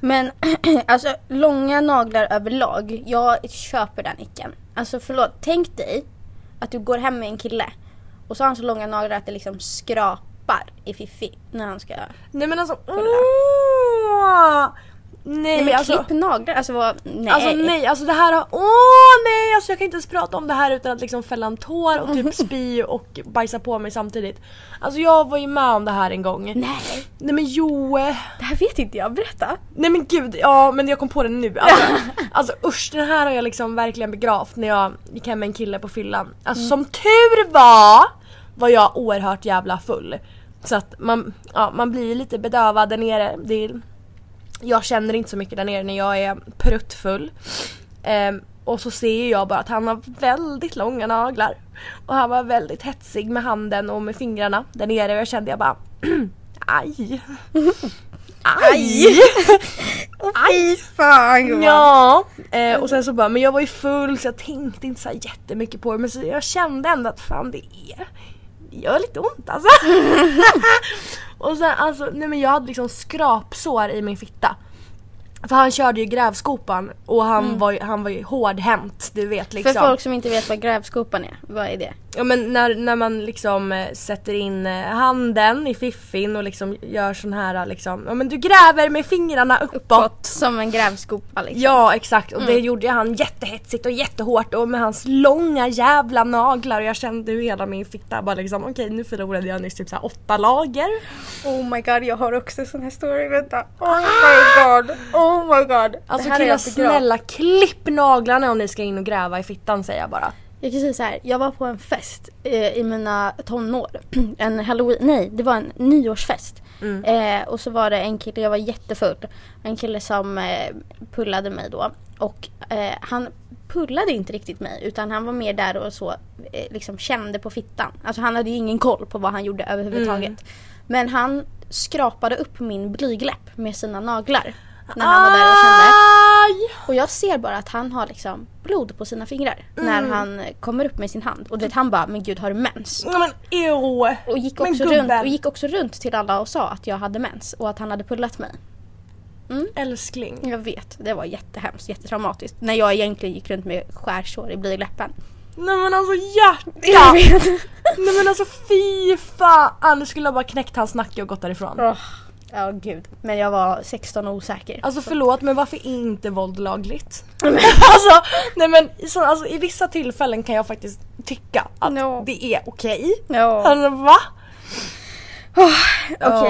S6: Men alltså långa naglar överlag, jag köper den icken. Alltså förlåt, tänk dig att du går hem med en kille och så har han så långa naglar att det liksom skrapar i fiffi när han ska...
S4: Nej men alltså... Åh! Nej,
S6: Nej men
S4: alltså...
S6: klipp naglar, alltså vad... Nej.
S4: Alltså nej, alltså det här har... Åh nej! Alltså jag kan inte ens prata om det här utan att liksom fälla en tår och typ spy och bajsa på mig samtidigt. Alltså jag var ju med om det här en gång. Nej,
S6: Nej,
S4: men jo... eh,
S6: det här vet inte jag, berätta.
S4: Nej men gud, ja men jag kom på det nu. Alltså, alltså usch, den här har jag liksom verkligen begravt när jag gick hem med en kille på fyllan. Alltså som tur var var jag oerhört jävla full. Så att man, ja, man blir lite bedövad där nere. Det är, jag känner inte så mycket där nere när jag är pruttfull. Ehm, och så ser ju jag bara att han har väldigt långa naglar. Och han var väldigt hetsig med handen och med fingrarna där nere och jag kände jag bara aj. Aj!
S6: Fy fan
S4: Ja, eh, och sen så bara, men jag var ju full så jag tänkte inte så här jättemycket på det men så jag kände ändå att fan det är, det gör lite ont alltså. och sen alltså, nej men jag hade liksom skrapsår i min fitta. För han körde ju grävskopan och han, var, ju, han var ju hårdhänt du vet
S6: Mm. För
S4: liksom.
S6: folk som inte vet vad grävskopan är, vad är det?
S4: Ja men när, när man liksom eh, sätter in eh, handen i fiffin och liksom gör sån här liksom, ja men du gräver med fingrarna uppåt. Mm.
S6: Som en grävskopa liksom.
S4: Ja exakt och det gjorde ju han jättehetsigt och jättehårt och med hans långa jävla naglar och jag kände hur hela min fitta bara liksom okej nu förlorade jag nyss typ så här åtta lager.
S6: Oh my god, jag har också sån här story, vänta. Oh my god, oh my god.
S4: Alltså
S6: Det här
S4: killar
S6: har jag begravt.
S4: snälla klipp naglarna om ni ska in och gräva i fittan säger jag bara.
S6: Jag kan säga så här, jag var på en fest eh, i mina tonår. en halloween, nej det var en nyårsfest. Eh, och så var det en kille, jag var jättefull. En kille som eh, pullade mig då. Och eh, han pullade inte riktigt mig utan han var mer där och så eh, liksom kände på fittan. Alltså han hade ju ingen koll på vad han gjorde överhuvudtaget. Men han skrapade upp min blygläpp med sina naglar. När han var där och kände.
S4: Ah, Aj!
S6: Och jag ser bara att han har liksom blod på sina fingrar
S4: Mm.
S6: när han kommer upp med sin hand. Och du vet, han bara, men gud har du mens?
S4: Nej, men ew!
S6: Och gick,
S4: Men
S6: också
S4: gubben.
S6: runt, och gick också runt till alla och sa att jag hade mens och att han hade pullat mig.
S4: Älskling.
S6: Jag vet, det var jättehemskt, jättetraumatiskt. När jag egentligen gick runt med skärsår i blygdläppen.
S4: Nej men alltså hjärta!
S6: Jag vet.
S4: Nej men alltså fy fan! Du skulle ha bara knäckt hans nacke och gått därifrån.
S6: Åh, Ja gud, men jag var 16 och osäker.
S4: Alltså förlåt men varför är inte våld lagligt? alltså, nej men så, alltså, i vissa tillfällen kan jag faktiskt tycka att
S6: No.
S4: det är okej.
S6: Ja.
S4: Alltså va?
S6: Okej,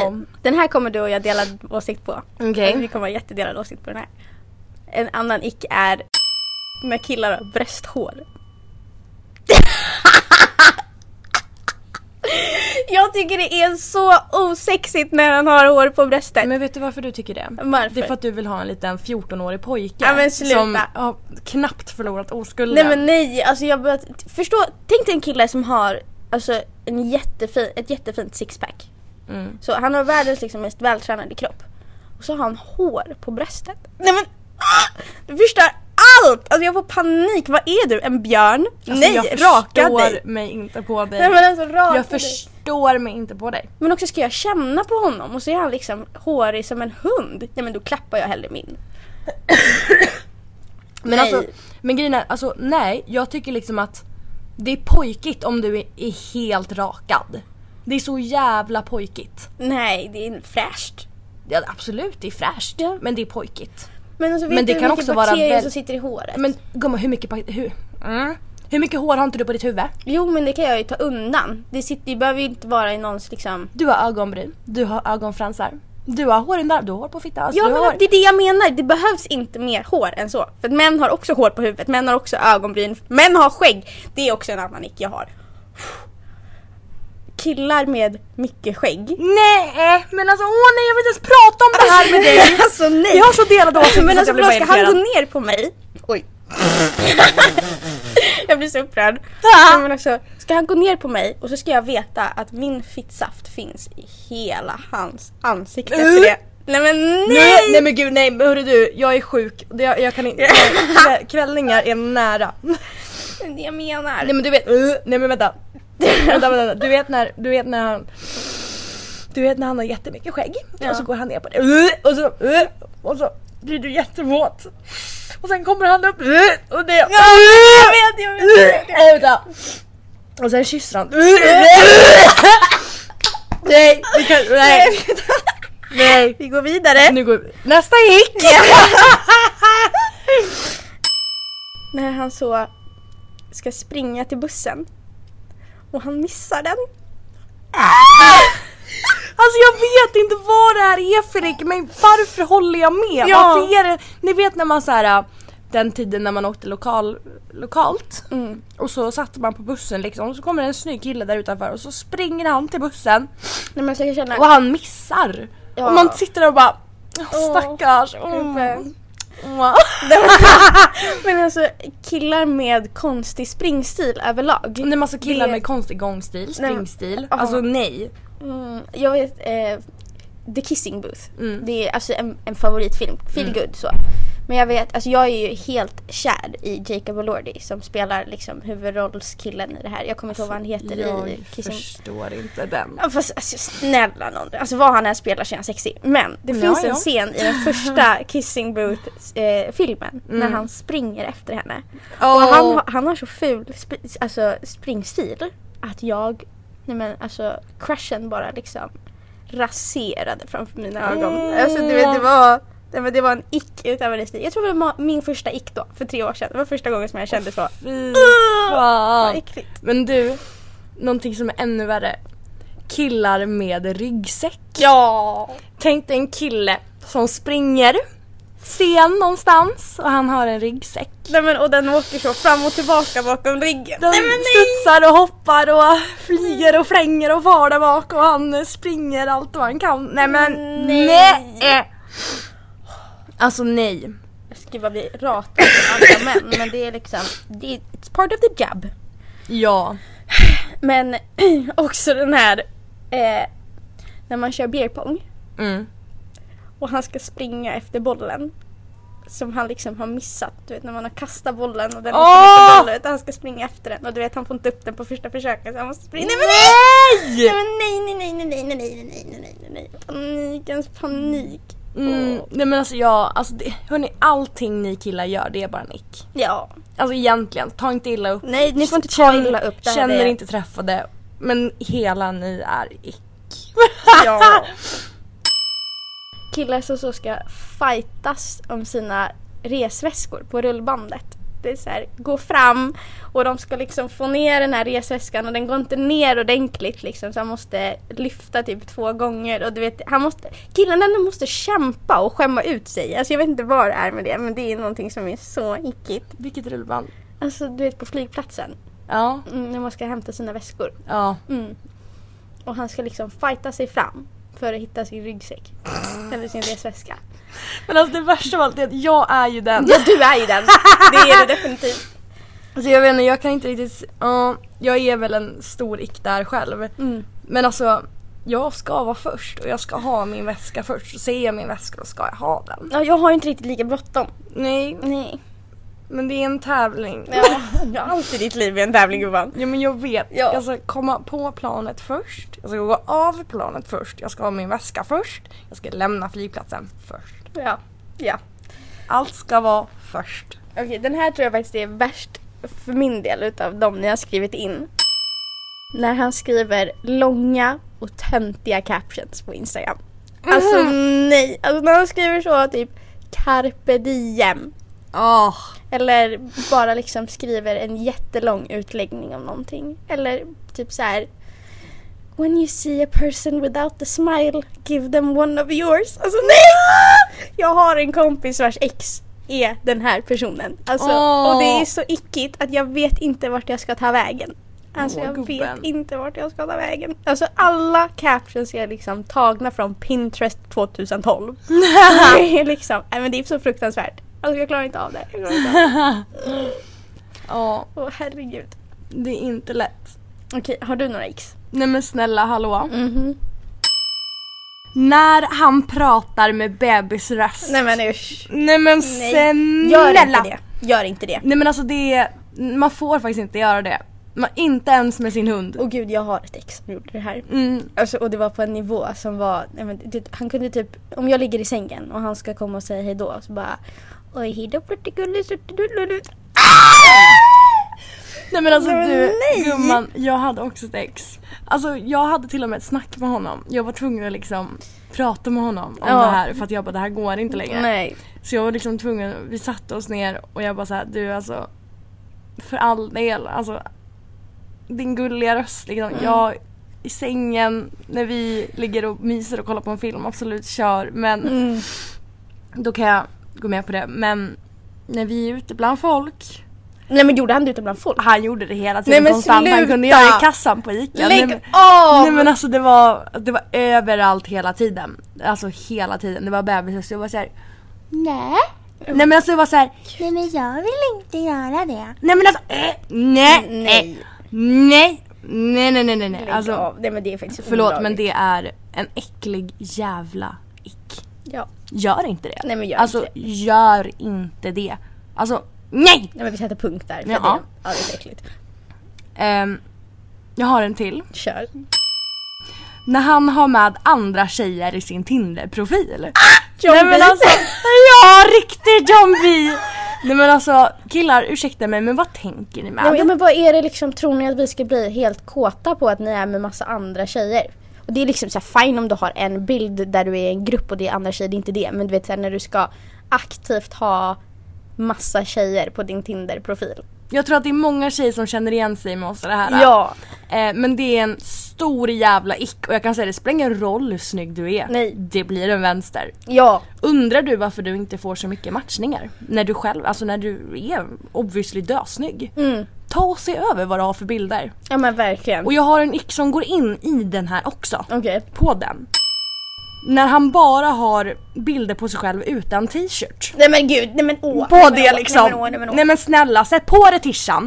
S4: Ja.
S6: den här kommer du och jag delad åsikt på.
S4: Okej.
S6: Alltså, Vi kommer ha jättedelad åsikt på den här. En annan ick är när killar har brösthår. jag tycker det är så osexigt när han har hår på bröstet.
S4: Men vet du varför du tycker det?
S6: Varför?
S4: Det är för att du vill ha en liten 14-årig pojke
S6: Ja, men sluta.
S4: som har knappt förlorat oskulden.
S6: Nej men nej, alltså jag börjar... Förstå, tänk dig en kille som har alltså, en jättefin, ett jättefint sixpack.
S4: Mm.
S6: Så han har världens liksom, mest vältränade kropp. Och så har han hår på bröstet. Nej men! ah! Du förstör allt! Alltså jag får panik, vad är du? En björn?
S4: Alltså,
S6: nej,
S4: jag
S6: raka
S4: förstår
S6: dig!
S4: mig inte på dig.
S6: Nej men alltså raka
S4: jag
S6: dig!
S4: förstår mig inte på dig.
S6: Men också ska jag känna på honom och så är han liksom hårig som en hund. Nej men då klappar jag hellre min.
S4: Men
S6: Nej.
S4: alltså, men grejen är, alltså nej, jag tycker liksom att det är pojkigt om du är, är helt rakad. Det är så jävla pojkigt.
S6: Nej, det är fräscht.
S4: Ja absolut, det är fräscht.
S6: Ja.
S4: Men det är pojkigt.
S6: Men, alltså, vet
S4: Men det
S6: du hur
S4: kan
S6: mycket
S4: också vara
S6: bakterier
S4: väl-
S6: som sitter i håret.
S4: Men gumman hur mycket, pa- hur, mm, hur mycket hår har inte du på ditt huvud?
S6: Jo men det kan jag ju ta undan. Det, sitter, det behöver ju inte vara i någons liksom...
S4: Du har ögonbryn, du har ögonfransar, du har hår i där, du har hår på fittan. Alltså,
S6: Ja
S4: du
S6: men
S4: har hår.
S6: det är det jag menar, det behövs inte mer hår än så. För att män har också hår på huvudet, män har också ögonbryn, män har skägg. Det är också en annan nick jag har. Killar med mycket skägg.
S4: Nej men alltså åh nej jag vill inte ens prata om det här med dig!
S6: alltså nej!
S4: Vi har så delade åsikter
S6: Men
S4: så att
S6: alltså
S4: jag blir bara
S6: förlåt, ska han gå
S4: irriterad.
S6: ner på mig? Oj. jag blir så upprörd. Nej, Men alltså, ska han gå ner på mig och så ska jag veta att min fittsaft finns i hela hans ansikte efter det. Nej men nej!
S4: Nej! nej men gud nej men hörru du, jag är sjuk. Jag, jag kan inte, kvä- kvällningar är nära.
S6: Det är det jag menar.
S4: Nej men du vet, uh, nej men vänta. vänta, vänta. Du, vet när, du vet när han Du vet när han har jättemycket skägg och så går han ner på det uh, och, så, uh, och så blir du jättevåt. Och sen kommer han upp uh, och det... Ja,
S6: jag vet, jag vet, jag vet.
S4: Nej vänta. Och sen kysser han. Uh,
S6: uh.
S4: nej, vi kan, nej, nej.
S6: Vi går vidare.
S4: Nu går vi. Nästa gick!
S6: När han så ska springa till bussen och han missar den.
S4: Alltså jag vet inte vad det här är för Rick, men varför håller jag med?
S6: Ja.
S4: Varför är det, ni vet när man så här äh, den tiden när man åkte lokal, lokalt
S6: Mm.
S4: och så satt man på bussen liksom och så kommer det en snygg kille där utanför och så springer han till bussen
S6: När man försöker känna...
S4: och han missar.
S6: Ja.
S4: Och man sitter där och bara
S6: Åh,
S4: oh, stackars. Oh.
S6: gubben.
S4: Oh.
S6: Mm. Men alltså killar med konstig springstil överlag.
S4: Det är massa killar
S6: Det-
S4: med konstig gångstil,
S6: Nej, men-
S4: springstil.
S6: Aha.
S4: Alltså nej.
S6: Mm, jag vet, eh, The Kissing Booth.
S4: Mm.
S6: Det är alltså en, en favoritfilm, feel good så. Men jag vet, alltså jag är ju helt kär i Jacob Elordi som spelar liksom huvudrollskillen i det här. Jag kommer inte ihåg vad han heter i
S4: Jag
S6: Kissing
S4: förstår inte den.
S6: Ja, Fast alltså, snälla nån. Alltså vad han än spelar så är han sexig. Men det finns
S4: ja.
S6: en scen i den första Kissing Booth eh, filmen när han springer efter henne. Och han, har- han har så ful sp- alltså, springstil att jag, nej men alltså crushen bara liksom raserade framför mina ögon. Alltså du vet det var, nej, men det var en ick utöver det stil. Jag tror det var min första ick då för tre år sedan. Det var första gången som jag kände så.
S4: Fy
S6: Ah! Vad
S4: fan.
S6: äckligt.
S4: Men du, någonting som är ännu värre. Killar med ryggsäck.
S6: Ja!
S4: Tänk dig en kille som springer sen någonstans och han har en ryggsäck.
S6: Nej men och den åker så fram och tillbaka bakom ryggen.
S4: Den
S6: nej men nej!
S4: studsar och hoppar och flyger och flänger och far där bak och han springer allt vad han kan. Nej men
S6: Nej.
S4: nej! Alltså nej.
S6: Gud vad vi ratar andra män men det är liksom, det är, it's part of the job.
S4: Ja.
S6: Men också den här eh, när man kör beerpong
S4: Mm.
S6: och han ska springa efter bollen. som han liksom har missat. Du vet när man har kastat bollen och den
S4: Åh!
S6: åker inte boll ut. Han ska springa efter den och du vet han får inte upp den på första försöket så han måste springa. Nej men nej! Nej men nej nej nej nej nej nej nej nej nej nej nej. Panikens panik.
S4: Mm, nej men alltså jag, alltså det, hörni allting ni killar gör det är bara nick.
S6: Ja.
S4: Alltså egentligen, ta inte illa upp.
S6: Nej ni får inte ta illa upp det här.
S4: Känner
S6: är-
S4: er inte träffade, men hela ni är ick.
S6: Ja. Killar som så ska fightas om sina resväskor på rullbandet. Det är så här, gå fram och de ska liksom få ner den här resväskan och den går inte ner ordentligt liksom så han måste lyfta typ två gånger och du vet, han måste, killarna de måste kämpa och skämma ut sig. Alltså jag vet inte vad det är med det men det är någonting som är så ickigt.
S4: Vilket rullband.
S6: Alltså du vet på flygplatsen
S4: Ja,
S6: mm, när man ska hämta sina väskor
S4: ja.
S6: och han ska liksom fighta sig fram för att hitta sin ryggsäck. Eller sin resväska.
S4: Men alltså det värsta av allt är att jag är ju den.
S6: Ja du är ju den! Det är du definitivt.
S4: Alltså jag vet inte, jag kan inte riktigt, ja, jag är väl en stor ick där själv. Men alltså jag ska vara först och jag ska ha min väska först. Och ser jag min väska och ska jag ha den.
S6: Ja, jag har ju inte riktigt lika bråttom.
S4: Nej,
S6: Nej.
S4: men det är en tävling.
S6: Ja. Jag har alltid ditt liv i en tävling gumman.
S4: Ja men jag vet.
S6: Ja.
S4: Jag ska komma på planet först. Jag ska gå av planet först. Jag ska ha min väska först. Jag ska lämna flygplatsen först.
S6: Ja. Ja.
S4: Allt ska vara först.
S6: Okej, den här tror jag faktiskt är värst för min del utav de ni har skrivit in. När han skriver långa och töntiga captions på Instagram. Alltså nej, alltså när han skriver så typ carpe diem
S4: Ah.
S6: Eller bara liksom skriver en jättelång utläggning om någonting. Eller typ så här. When you see a person without a smile, give them one of yours. Alltså nej! Jag har en kompis vars ex är den här personen. Alltså,
S4: Åh.
S6: Och det är så ickigt att jag vet inte vart jag ska ta vägen. Alltså
S4: Åh,
S6: jag
S4: gubben.
S6: vet inte vart jag ska ta vägen. Alltså alla captions är liksom tagna från Pinterest 2012. det är liksom, nej men det är så fruktansvärt. Alltså jag klarar inte av det. Jag klarar inte av det.
S4: Ja,
S6: Åh herregud.
S4: det är inte lätt.
S6: Okej, har du några x?
S4: Nej men snälla hallå.
S6: Mhm.
S4: När han pratar med bebisröst.
S6: Nej men usch.
S4: Nej men
S6: Gör
S4: snälla.
S6: inte det. Gör inte det.
S4: Nej men alltså det är, man får faktiskt inte göra det. Man, inte ens med sin hund.
S6: Och gud, jag har ett ex som gjorde det här.
S4: Mm.
S6: Alltså, och det var på en nivå som var, nej, men, det, han kunde typ, om jag ligger i sängen och han ska komma och säga hejdå så bara Oj hejdå pluttigullig suttidullulu."
S4: Nej men alltså
S6: Nej, men
S4: du
S6: nej!
S4: gumman, jag hade också ett ex. Alltså jag hade till och med ett snack med honom. Jag var tvungen att liksom prata med honom om
S6: Ja.
S4: det här för att jag bara det här går inte längre.
S6: Nej.
S4: Så jag var liksom tvungen, vi satte oss ner och jag bara såhär du alltså för all del alltså din gulliga röst liksom.
S6: Mm.
S4: Jag i sängen när vi ligger och myser och kollar på en film absolut kör men
S6: Mm.
S4: då kan jag gå med på det men när vi är ute bland folk
S6: Nej men gjorde han det ute bland folk?
S4: han gjorde det hela
S6: Nej,
S4: tiden
S6: men
S4: konstant. Han
S6: sluta!
S4: kunde göra det i kassan på Ica. Nej,
S6: Lägg
S4: men,
S6: av!
S4: nej men alltså det var, det var överallt hela tiden. Alltså hela tiden. Det var bebisar så jag var såhär Nej. Nej men alltså det var såhär Nej men jag vill inte göra det. Nej men alltså eh, nej, nej. Nej. Nej nej nej nej. nej.
S6: Lägg
S4: Alltså
S6: av. Nej men det är faktiskt
S4: förlåt men
S6: olagligt.
S4: det är en äcklig jävla ick.
S6: Ja.
S4: Gör inte det.
S6: Nej, men gör
S4: alltså
S6: inte
S4: gör inte det. Alltså nej!
S6: Nej men vi sätter punkt där. För
S4: Ja.
S6: det, ja det är så äckligt.
S4: Ehm, jag har en till.
S6: Kör.
S4: när han har med andra tjejer i sin Tinder-profil.
S6: John
S4: Nej men
S6: B.
S4: alltså, ja riktigt John B! Nej men alltså killar, ursäkta mig men vad tänker ni med?
S6: Ja, men, ja, men vad är det liksom, tror ni att vi ska bli helt kåta på att ni är med massa andra tjejer? Och det är liksom så här, fine om du har en bild där du är i en grupp och det är andra tjejer, det är inte det. Men du vet så här, när du ska aktivt ha massa tjejer på din Tinder-profil.
S4: Jag tror att det är många tjejer som känner igen sig med oss i det här.
S6: Ja.
S4: Eh, men det är en stor jävla ick och jag kan säga det spelar ingen roll hur snygg du är.
S6: Nej.
S4: Det blir en vänster.
S6: Ja.
S4: Undrar du varför du inte får så mycket matchningar? När du själv, alltså när du är obviously dösnygg.
S6: Mm.
S4: Ta och se över vad du har för bilder.
S6: Ja men verkligen.
S4: Och jag har en ick som går in i den här också.
S6: Okej.
S4: på den. När han bara har bilder på sig själv utan t-shirt.
S6: Nej men gud, nej men åh.
S4: På
S6: nej, men
S4: det
S6: åh,
S4: liksom.
S6: Nej men åh, nej men åh.
S4: Nej men snälla, sätt på dig tishan.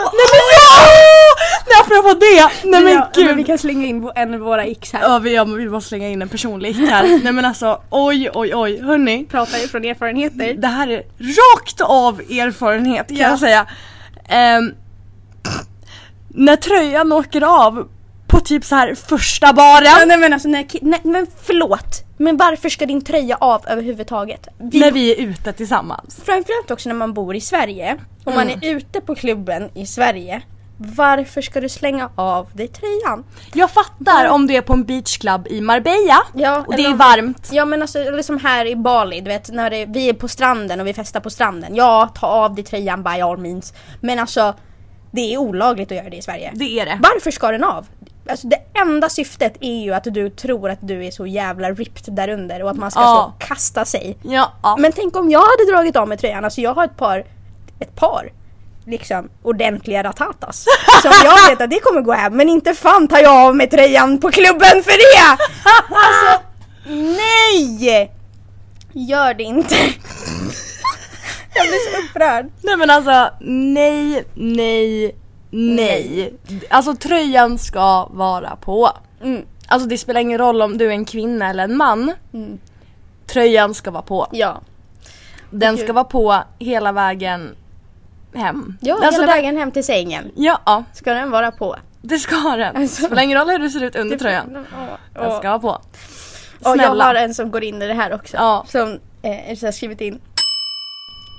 S4: nej men ja! apropå det! Nej men
S6: ja,
S4: gud!
S6: Men vi kan slänga in vå- en av våra x här.
S4: Ja, vi, ja, men vi måste slänga in en personlig ick här. Nej men alltså oj oj oj, hörni.
S6: Pratar ju från erfarenheter.
S4: Det här är rakt av erfarenhet kan
S6: Ja.
S4: jag säga. Ehm, när tröjan åker av på typ så här första
S6: Ja,
S4: baren.
S6: nej men alltså nej, ki- nej men förlåt. Men varför ska din tröja av överhuvudtaget? Vi,
S4: När vi är ute tillsammans.
S6: Framförallt också när man bor i Sverige. Om man är ute på klubben i Sverige. Varför ska du slänga av dig tröjan?
S4: Jag fattar om du är på en beachclub i Marbella
S6: Ja,
S4: och det
S6: eller
S4: är
S6: om-
S4: varmt.
S6: Ja men alltså eller som här i Bali, du vet när det, vi är på stranden och vi festar på stranden. Ja, ta av dig tröjan by all means. Men alltså det är olagligt att göra det i Sverige.
S4: Det är det.
S6: Varför ska den av? Alltså det enda syftet är ju att du tror att du är så jävla ripped där under och att man ska
S4: Ja.
S6: så kasta sig.
S4: Ja, ja.
S6: Men tänk om jag hade dragit av mig tröjan, alltså jag har ett par, ett par liksom ordentliga ratatas. Som jag vet att det kommer gå hem, men inte fan tar jag av mig tröjan på klubben för det! Alltså, nej! Gör det inte. Jag blir så upprörd.
S4: Nej men alltså nej, nej, nej. Alltså tröjan ska vara på.
S6: Mm.
S4: Alltså det spelar ingen roll om du är en kvinna eller en man. Tröjan ska vara på.
S6: Mm. Ja,
S4: Den ska vara på hela vägen hem.
S6: ja
S4: Alltså,
S6: hela
S4: den-
S6: vägen hem till sängen
S4: Ja, ja,
S6: ska den vara på.
S4: det ska den.
S6: Alltså.
S4: Det spelar ingen roll hur du ser ut under tröjan. Den ska vara på.
S6: Och jag
S4: Snälla.
S6: har en som går in i det här också.
S4: Ja.
S6: Som eh, så har skrivit in.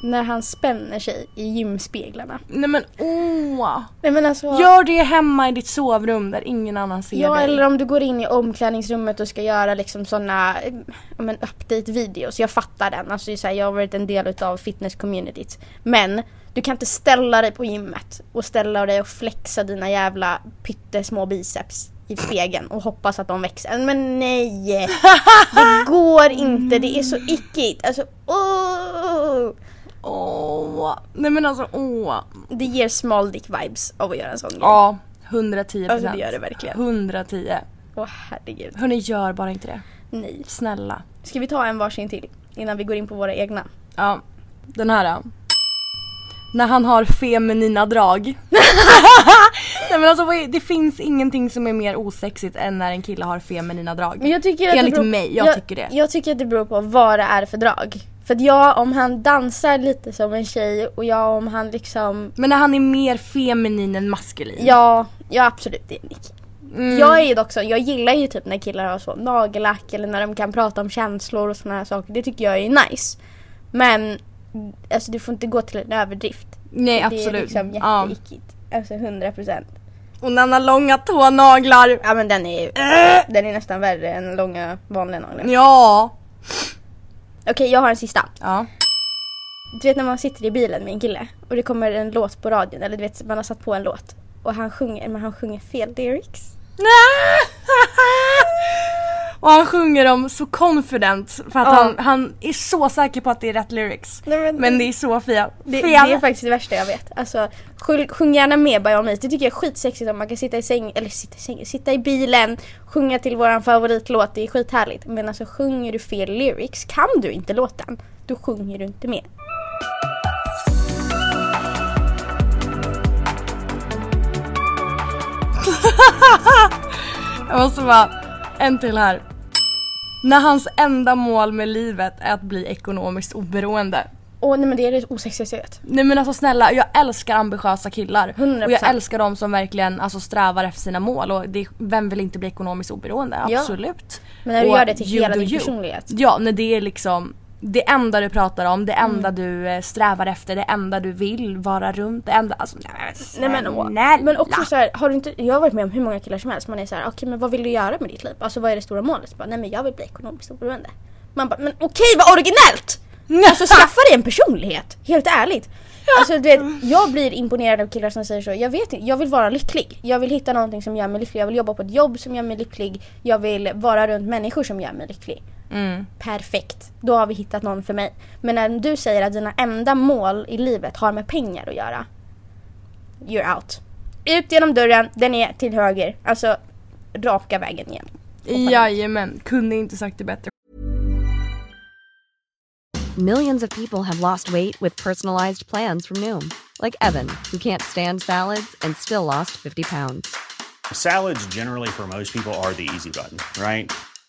S6: När han spänner sig i gymspeglarna.
S4: Nej men åh.
S6: Nej men alltså.
S4: Gör det hemma i ditt sovrum där ingen annan ser
S6: ja
S4: dig.
S6: eller om du går in i omklädningsrummet och ska göra liksom sådana eh, ja, men update-videos. Jag fattar den. Alltså det är så här, jag har varit en del utav fitness-communityt. Men du kan inte ställa dig på gymmet och ställa dig och flexa dina jävla pyttesmå biceps i spegeln och hoppas att de växer. Men nej! Det går inte, det är så ickigt. Alltså, åh!
S4: Åh. Nej men alltså åh.
S6: Det ger small dick vibes av att göra en sån grej.
S4: Ja, 110
S6: Alltså, det gör det verkligen.
S4: 110.
S6: Åh herregud,
S4: Hörni, gör bara inte det.
S6: nej.
S4: Snälla.
S6: Ska vi ta en varsin till innan vi går in på våra egna?
S4: Ja, den här. ja. När han har feminina drag. Nej men alltså vad är- det finns ingenting som är mer osexigt än när en kille har feminina drag.
S6: Men jag tycker
S4: Enligt
S6: beror-
S4: mig, jag tycker det.
S6: Jag tycker att det beror på vad det är för drag. För att jag, om han dansar lite som en tjej och jag om han liksom
S4: Men när han är mer feminin än maskulin.
S6: Ja, ja absolut det är en ick.
S4: Mm.
S6: Jag är ju dock så, jag gillar ju typ när killar har så nagellack eller när de kan prata om känslor och såna här saker. Det tycker jag är nice. Men alltså det får inte gå till en överdrift.
S4: Nej absolut.
S6: Det är liksom
S4: ja.
S6: jätteickigt. Alltså 100 procent.
S4: Och när han har långa tånaglar.
S6: Ja men den är ju,
S4: Äh!
S6: den är nästan värre än långa vanliga naglar.
S4: Ja.
S6: Okej jag har en sista.
S4: Ja.
S6: Du vet när man sitter i bilen med en kille och det kommer en låt på radion eller du vet man har satt på en låt och han sjunger, men han sjunger fel lyrics.
S4: Och han sjunger om så confident för att
S6: Ja.
S4: han, han är så säker på att det är rätt lyrics.
S6: Nej, men-
S4: men det är så fel.
S6: Det, det är faktiskt det värsta jag vet. Alltså sjung, sjung gärna med by all means. Det tycker jag är skitsexigt om man kan sitta i säng, eller sitta i sängen, sitta i bilen, sjunga till våran favoritlåt, det är skithärligt. Men alltså sjunger du fel lyrics, kan du inte låten, då sjunger du inte med.
S4: Jag måste bara, en till här. När hans enda mål med livet är att bli ekonomiskt oberoende.
S6: Åh nej men det är det osexigaste jag vet.
S4: Nej men alltså snälla, jag älskar ambitiösa killar.
S6: 100%.
S4: Och jag älskar de som verkligen alltså, strävar efter sina mål. Och det, vem vill inte bli ekonomiskt oberoende?
S6: Ja.
S4: Absolut.
S6: Men när du
S4: och
S6: gör det till
S4: you
S6: hela
S4: do
S6: din
S4: you.
S6: personlighet.
S4: Ja, när det är liksom det enda du pratar om, det
S6: Mm.
S4: enda du eh, strävar efter, det enda du vill vara runt, det enda... Alltså, nej,
S6: Nej men, åh. men också så här, har du inte, jag har varit med om hur många killar som helst, man är så här, okej men vad vill du göra med ditt liv? Alltså vad är det stora målet? Så Bara, Nej men jag vill bli ekonomiskt oberoende. Man bara, men okej vad originellt! Alltså skaffa dig en personlighet, helt ärligt. Alltså du vet, jag blir imponerad av killar som säger så, jag vet inte, jag vill vara lycklig. Jag vill hitta någonting som gör mig lycklig, jag vill jobba på ett jobb som gör mig lycklig, jag vill vara runt människor som gör mig lycklig. Perfekt, då har vi hittat någon för mig. Men när du säger att dina enda mål i livet har med pengar att göra, you're out. Ut genom dörren, den är till höger. Alltså raka vägen igen.
S4: Jajamän, kunde inte sagt det bättre
S7: Millions of people have lost weight with personalized plans from Noom, like Evan, who can't stand salads and still lost 50 pounds.
S8: Salads, generally, for most people, are the easy button, right?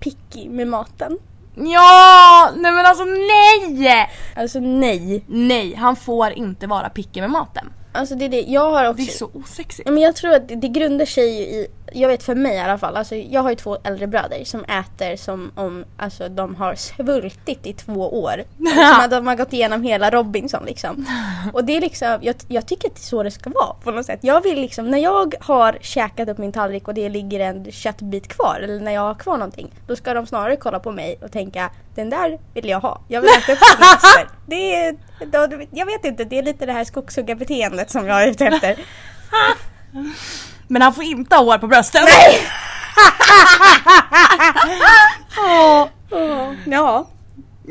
S3: picky med maten.
S4: Ja! Nej men alltså nej!
S3: Alltså nej.
S4: Nej, han får inte vara picky med maten.
S3: Alltså det är det, jag har också...
S4: Det är så osexigt.
S3: Ja, Men jag tror att det, det grundar sig ju i, jag vet för mig i alla fall, alltså jag har ju två äldre bröder som äter som om alltså, de har svultit i två år. som att de har gått igenom hela Robinson liksom. Och det är liksom, jag, jag tycker att det är så det ska vara på något sätt. Jag vill liksom, när jag har käkat upp min tallrik och det ligger en köttbit kvar eller när jag har kvar någonting, då ska de snarare kolla på mig och tänka den där vill jag ha. Jag vill äta upp den resten." Det är, då, jag vet inte, det är lite det här skogshugga-beteendet som jag är ute efter.
S4: Men han får inte ha hår på brösten. Nej!
S3: Ja.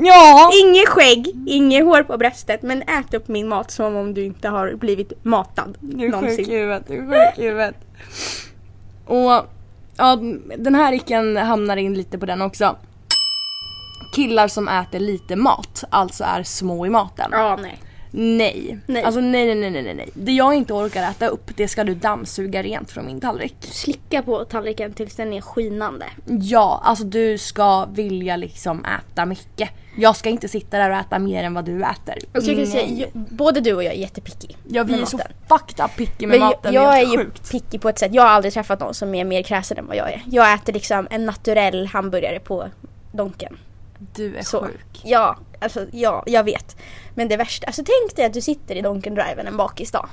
S4: Ja!
S3: Inget skägg, inget hår på bröstet men ät upp min mat som om du inte har blivit matad
S4: Du är sjuk i
S3: någonsin.
S4: huvudet, du är sjuk i huvudet. Och ja, den här icken hamnar in lite på den också. Killar som äter lite mat, alltså är små i maten.
S3: Ja, nej.
S4: Nej.
S3: Nej.
S4: Alltså nej, nej, nej, nej, nej, nej. Det jag inte orkar äta upp, det ska du dammsuga rent från min tallrik.
S3: Slicka på tallriken tills den är skinande.
S4: Ja, alltså du ska vilja liksom äta mycket. Jag ska inte sitta där och äta mer än vad du äter.
S3: Alltså
S6: Mm,
S3: jag kan säga, ju- både du och jag är jättepicky.
S4: Ja, vi
S3: med
S4: är så
S3: maten.
S4: fucked up picky med
S3: Men jag,
S4: maten,
S3: jag
S4: det
S3: är
S4: är
S3: ju
S4: sjukt.
S3: picky på ett sätt. Jag har aldrig träffat någon som är mer kräsen än vad jag är. Jag äter liksom en naturell hamburgare på Donken.
S4: Du är
S3: Så.
S4: sjuk.
S3: Ja, alltså ja, jag vet. Men det värsta, alltså tänk dig att du sitter i Donken Driven en bakisdag.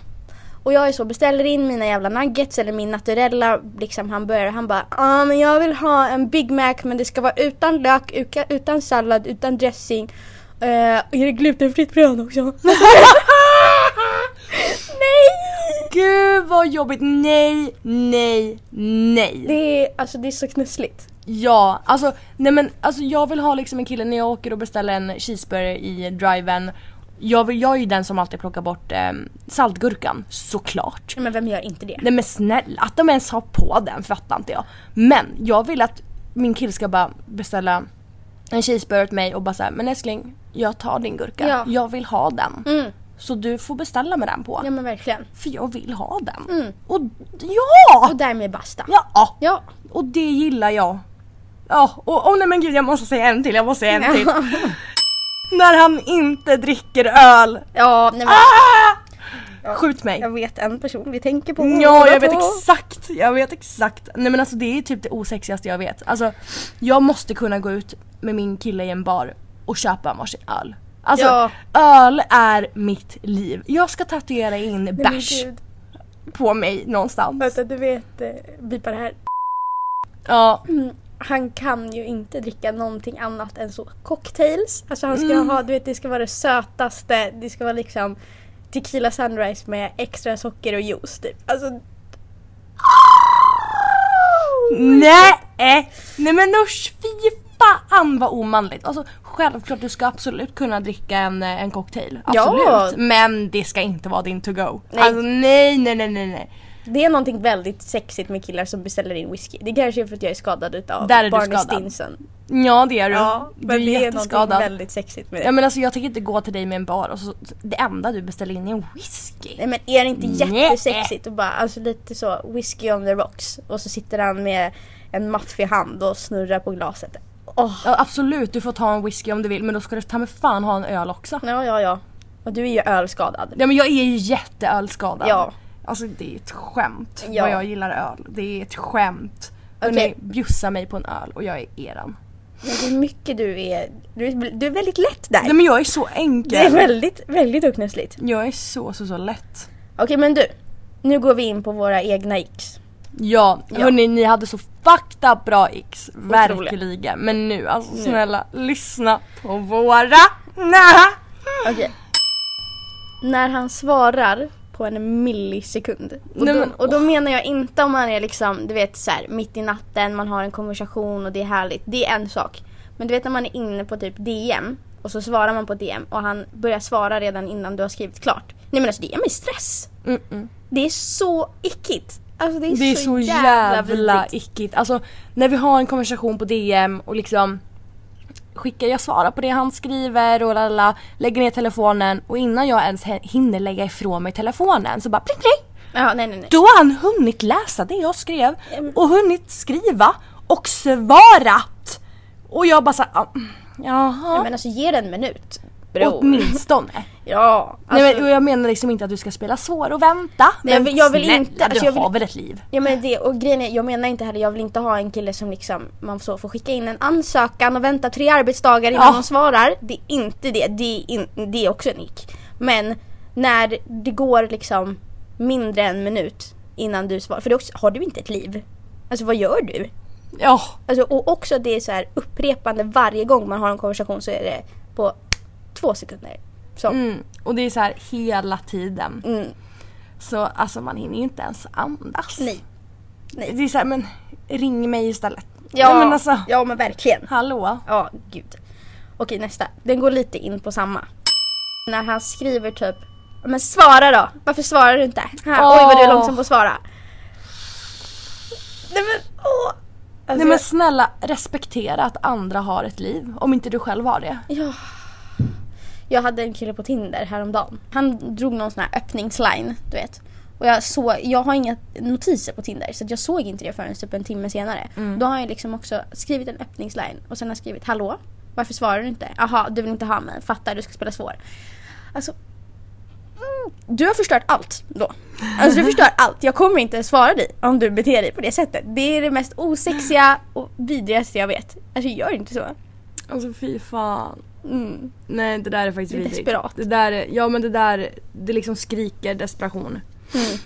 S3: Och jag är så, beställer in mina jävla nuggets eller min naturella liksom hamburgare. Han bara, ah, men jag vill ha en Big Mac men det ska vara utan lök, uka- utan sallad, utan dressing. Eh, är det glutenfritt bröd också? Nej!
S4: Gud vad jobbigt, nej, nej, nej.
S3: Det är, alltså det är så knussligt.
S4: Ja, alltså nej men alltså jag vill ha liksom en kille när jag åker och beställer en cheeseburger i driven. Jag, vill, jag är ju den som alltid plockar bort eh, saltgurkan, såklart.
S3: Men vem gör inte det?
S4: Nej men snälla, att de ens har på den fattar inte jag. Men jag vill att min kille ska bara beställa en cheeseburger åt mig och bara säga men älskling, jag tar din gurka.
S3: Ja.
S4: Jag vill ha den.
S3: Mm.
S4: Så du får beställa med den på.
S3: Ja men verkligen.
S4: För jag vill ha den. Och ja!
S3: Och därmed basta.
S4: Ja!
S3: Ja.
S4: Och det gillar jag. Ja, och oh, nej men gud jag måste säga en till, jag måste säga en till. När han inte dricker öl. Ah!
S3: Ja, nej men
S4: Skjut mig.
S3: jag vet en person vi tänker på.
S4: Ja, jag vet
S3: På-
S4: exakt, jag vet exakt. Nej men alltså det är typ det osexigaste jag vet. Alltså jag måste kunna gå ut med min kille i en bar och köpa varsin öl. Alltså
S3: Ja.
S4: öl är mitt liv. Jag ska tatuera in
S3: Nej, men
S4: bärs
S3: gud.
S4: på mig någonstans.
S3: Vänta, du vet, eh, bipa det här.
S4: Ja,
S3: Han kan ju inte dricka någonting annat än så cocktails. Alltså han
S4: Mm.
S3: ska ha, du vet det ska vara det sötaste, det ska vara liksom tequila sunrise med extra socker och juice typ. Alltså
S4: Nej! eh, Nej men usch, fy fan vad omanligt. Alltså självklart du ska absolut kunna dricka en, eh, en cocktail. Absolut.
S3: Ja.
S4: Men det ska inte vara din to go.
S3: Nej.
S4: Alltså nej, nej, nej, nej, nej.
S3: det är någonting väldigt sexigt med killar som beställer in whisky. Det kanske är för att jag är skadad utav
S4: Där är du
S3: Barney
S4: skadad.
S3: Stinson.
S4: Ja det är du.
S3: Ja,
S4: du är
S3: men det är någonting
S4: jätteskadad.
S3: väldigt sexigt med det.
S4: Ja men alltså jag tänker inte gå till dig med en bar och så det enda du beställer in är en whisky.
S3: Nej men är det inte
S4: Nej.
S3: jättesexigt och bara alltså lite så whisky on the rocks och så sitter han med en maffig hand och snurrar på glaset. Åh,
S4: Ja, absolut du får ta en whisky om du vill men då ska du ta med fan ha en öl också.
S3: ja ja ja. Och du är ju ölskadad.
S4: Ja men jag är ju jätteölskadad.
S3: Ja.
S4: Alltså det är ett skämt
S3: Ja.
S4: vad jag gillar öl. Det är ett skämt. Hörni,
S3: Okej.
S4: bjussa mig på en öl och jag är eran.
S3: Men hur mycket du är, du är, du är väldigt lätt där.
S4: Nej men jag är så
S3: det är
S4: enkel.
S3: väldigt, väldigt oknusligt.
S4: Jag är så så så lätt.
S3: Okej men du, nu går vi in på våra egna x.
S4: Ja, hörni ni hade så fucked up bra x. Verkligen. Men nu alltså snälla lyssna på våra. Nä.
S3: När han svarar på en millisekund. Och,
S4: Nej,
S3: då,
S4: men-
S3: och då menar jag inte om man är liksom, du vet så här, mitt i natten, man har en konversation och det är härligt. Det är en sak. Men du vet när man är inne på typ DM och så svarar man på DM och han börjar svara redan innan du har skrivit klart. Nej men alltså DM är stress. Det är så ickigt. Alltså det är,
S4: Det är så jävla
S3: vidrigt.
S4: ickigt. Alltså när vi har en konversation på DM och liksom skickar jag svarar på det han skriver och lalala, lägger ner telefonen och innan jag ens he- hinner lägga ifrån mig telefonen så bara pling pling.
S3: Ja, nej, nej, nej.
S4: Då har han hunnit läsa det jag skrev
S3: Mm.
S4: och hunnit skriva och svarat. Och jag bara såhär, ah,
S3: Nej,
S4: jaha.
S3: men alltså ge den en minut. Bror.
S4: Åtminstone.
S3: Ja. Alltså,
S4: Nej, men, och jag menar liksom inte att du ska spela svår och vänta.
S3: Nej,
S4: men
S3: men jag vill inte-
S4: snälla,
S3: alltså,
S4: du
S3: jag vill-
S4: har väl ett liv?
S3: ja, men det, och grejen är, jag menar inte heller, jag vill inte ha en kille som liksom, man så får skicka in en ansökan och vänta tre arbetsdagar innan
S4: Ja.
S3: man svarar. Det är inte det, det är, in, det är också en ick. Men när det går liksom mindre än en minut innan du svarar, för det är också, har du inte ett liv? Alltså vad gör du?
S4: Ja.
S3: Alltså, och också det är så här upprepande varje gång man har en konversation så är det på två sekunder. Så.
S4: Mm, och det är så här hela tiden.
S3: Mm.
S4: Så alltså man hinner ju inte ens andas.
S3: Nej. Nej.
S4: Det är så här, men ring mig istället.
S3: Ja,
S4: Nej, men alltså,
S3: ja Alltså, men verkligen.
S4: hallå.
S3: Ja, gud. Okej, nästa. Den går lite in på samma. När han skriver typ Men svara då! Varför svarar du inte? Här, Oj vad du är
S4: Åh.
S3: långsam på att svara. Nej men åh! Alltså,
S4: Nej men snälla respektera att andra har ett liv om inte du själv har det.
S3: ja. Jag hade en kille på Tinder häromdagen. Han drog någon sån här öppningsline, du vet. Och jag, såg, jag har inga notiser på Tinder så att jag såg inte det förrän typ en timme senare.
S4: Mm.
S3: Då har jag liksom också skrivit en öppningsline och sen har jag skrivit hallå, varför svarar du inte? Jaha, du vill inte ha mig, fattar, du ska spela svår. Alltså, mm, du har förstört allt då. Alltså du förstör allt, jag kommer inte svara dig om du beter dig på det sättet. Det är det mest osexiga och vidrigaste jag vet. Alltså gör inte så.
S4: Alltså fy fan.
S3: Mm.
S4: Nej det där är faktiskt
S3: Det är
S4: vidrigt.
S3: desperat.
S4: Det där, är- ja men det där, det liksom skriker desperation.
S3: Mm.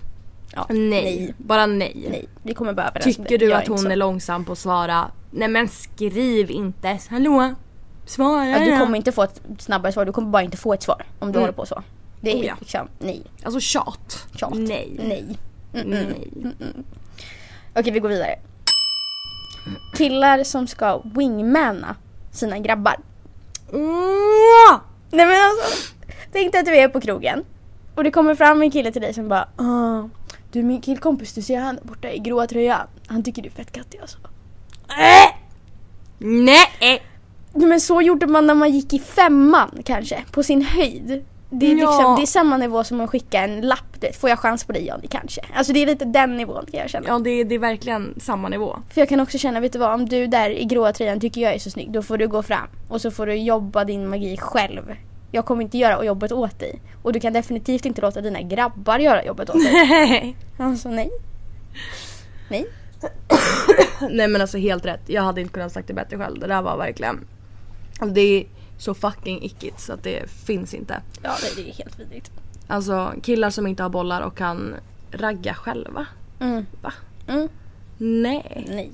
S3: Ja,
S4: Nej. Bara nej.
S3: Nej, vi kommer börja på den.
S4: Tycker du
S3: Jag
S4: att
S3: inte
S4: hon
S3: så.
S4: är långsam på att svara? Nej men skriv inte. Hallå? Svara
S3: Ja,
S4: då.
S3: du kommer inte få ett snabbare svar, du kommer bara inte få ett svar om du
S4: Mm.
S3: håller på så. Det är
S4: Oh, ja.
S3: liksom, nej,
S4: Alltså tjat.
S3: tjat.
S4: Nej.
S3: Nej.
S4: Nej.
S3: Okej, vi går vidare. Killar som ska wingmana sina grabbar.
S4: Åh!
S3: Nej men alltså, tänk dig att du är på krogen och det kommer fram en kille till dig som bara "Ah, Du min killkompis, du ser han borta i gråa tröjan. Han tycker du är fett kattig alltså.
S4: Eh! Nej!
S3: Nej, Men så gjorde man när man gick i femman kanske, på sin höjd. Det är,
S4: Ja.
S3: liksom, det är samma nivå som att skicka en lapp, du vet, får jag chans på dig Johnny kanske? Alltså det är lite den nivån kan jag känna.
S4: Ja det är, det är verkligen samma nivå.
S3: För jag kan också känna, vet du vad, om du där i gråa tröjan tycker jag är så snygg, då får du gå fram och så får du jobba din magi själv. Jag kommer inte göra jobbet åt dig. Och du kan definitivt inte låta dina grabbar göra jobbet åt dig. Alltså nej. Nej.
S4: Nej men alltså helt rätt, jag hade inte kunnat sagt det bättre själv. Det där var verkligen... Alltså, Det är så fucking ickigt så att det finns inte.
S3: Ja, det, det är helt vidrigt.
S4: Alltså killar som inte har bollar och kan ragga själva.
S3: Mm.
S4: Va?
S3: Mm.
S4: Nej.
S3: Nej.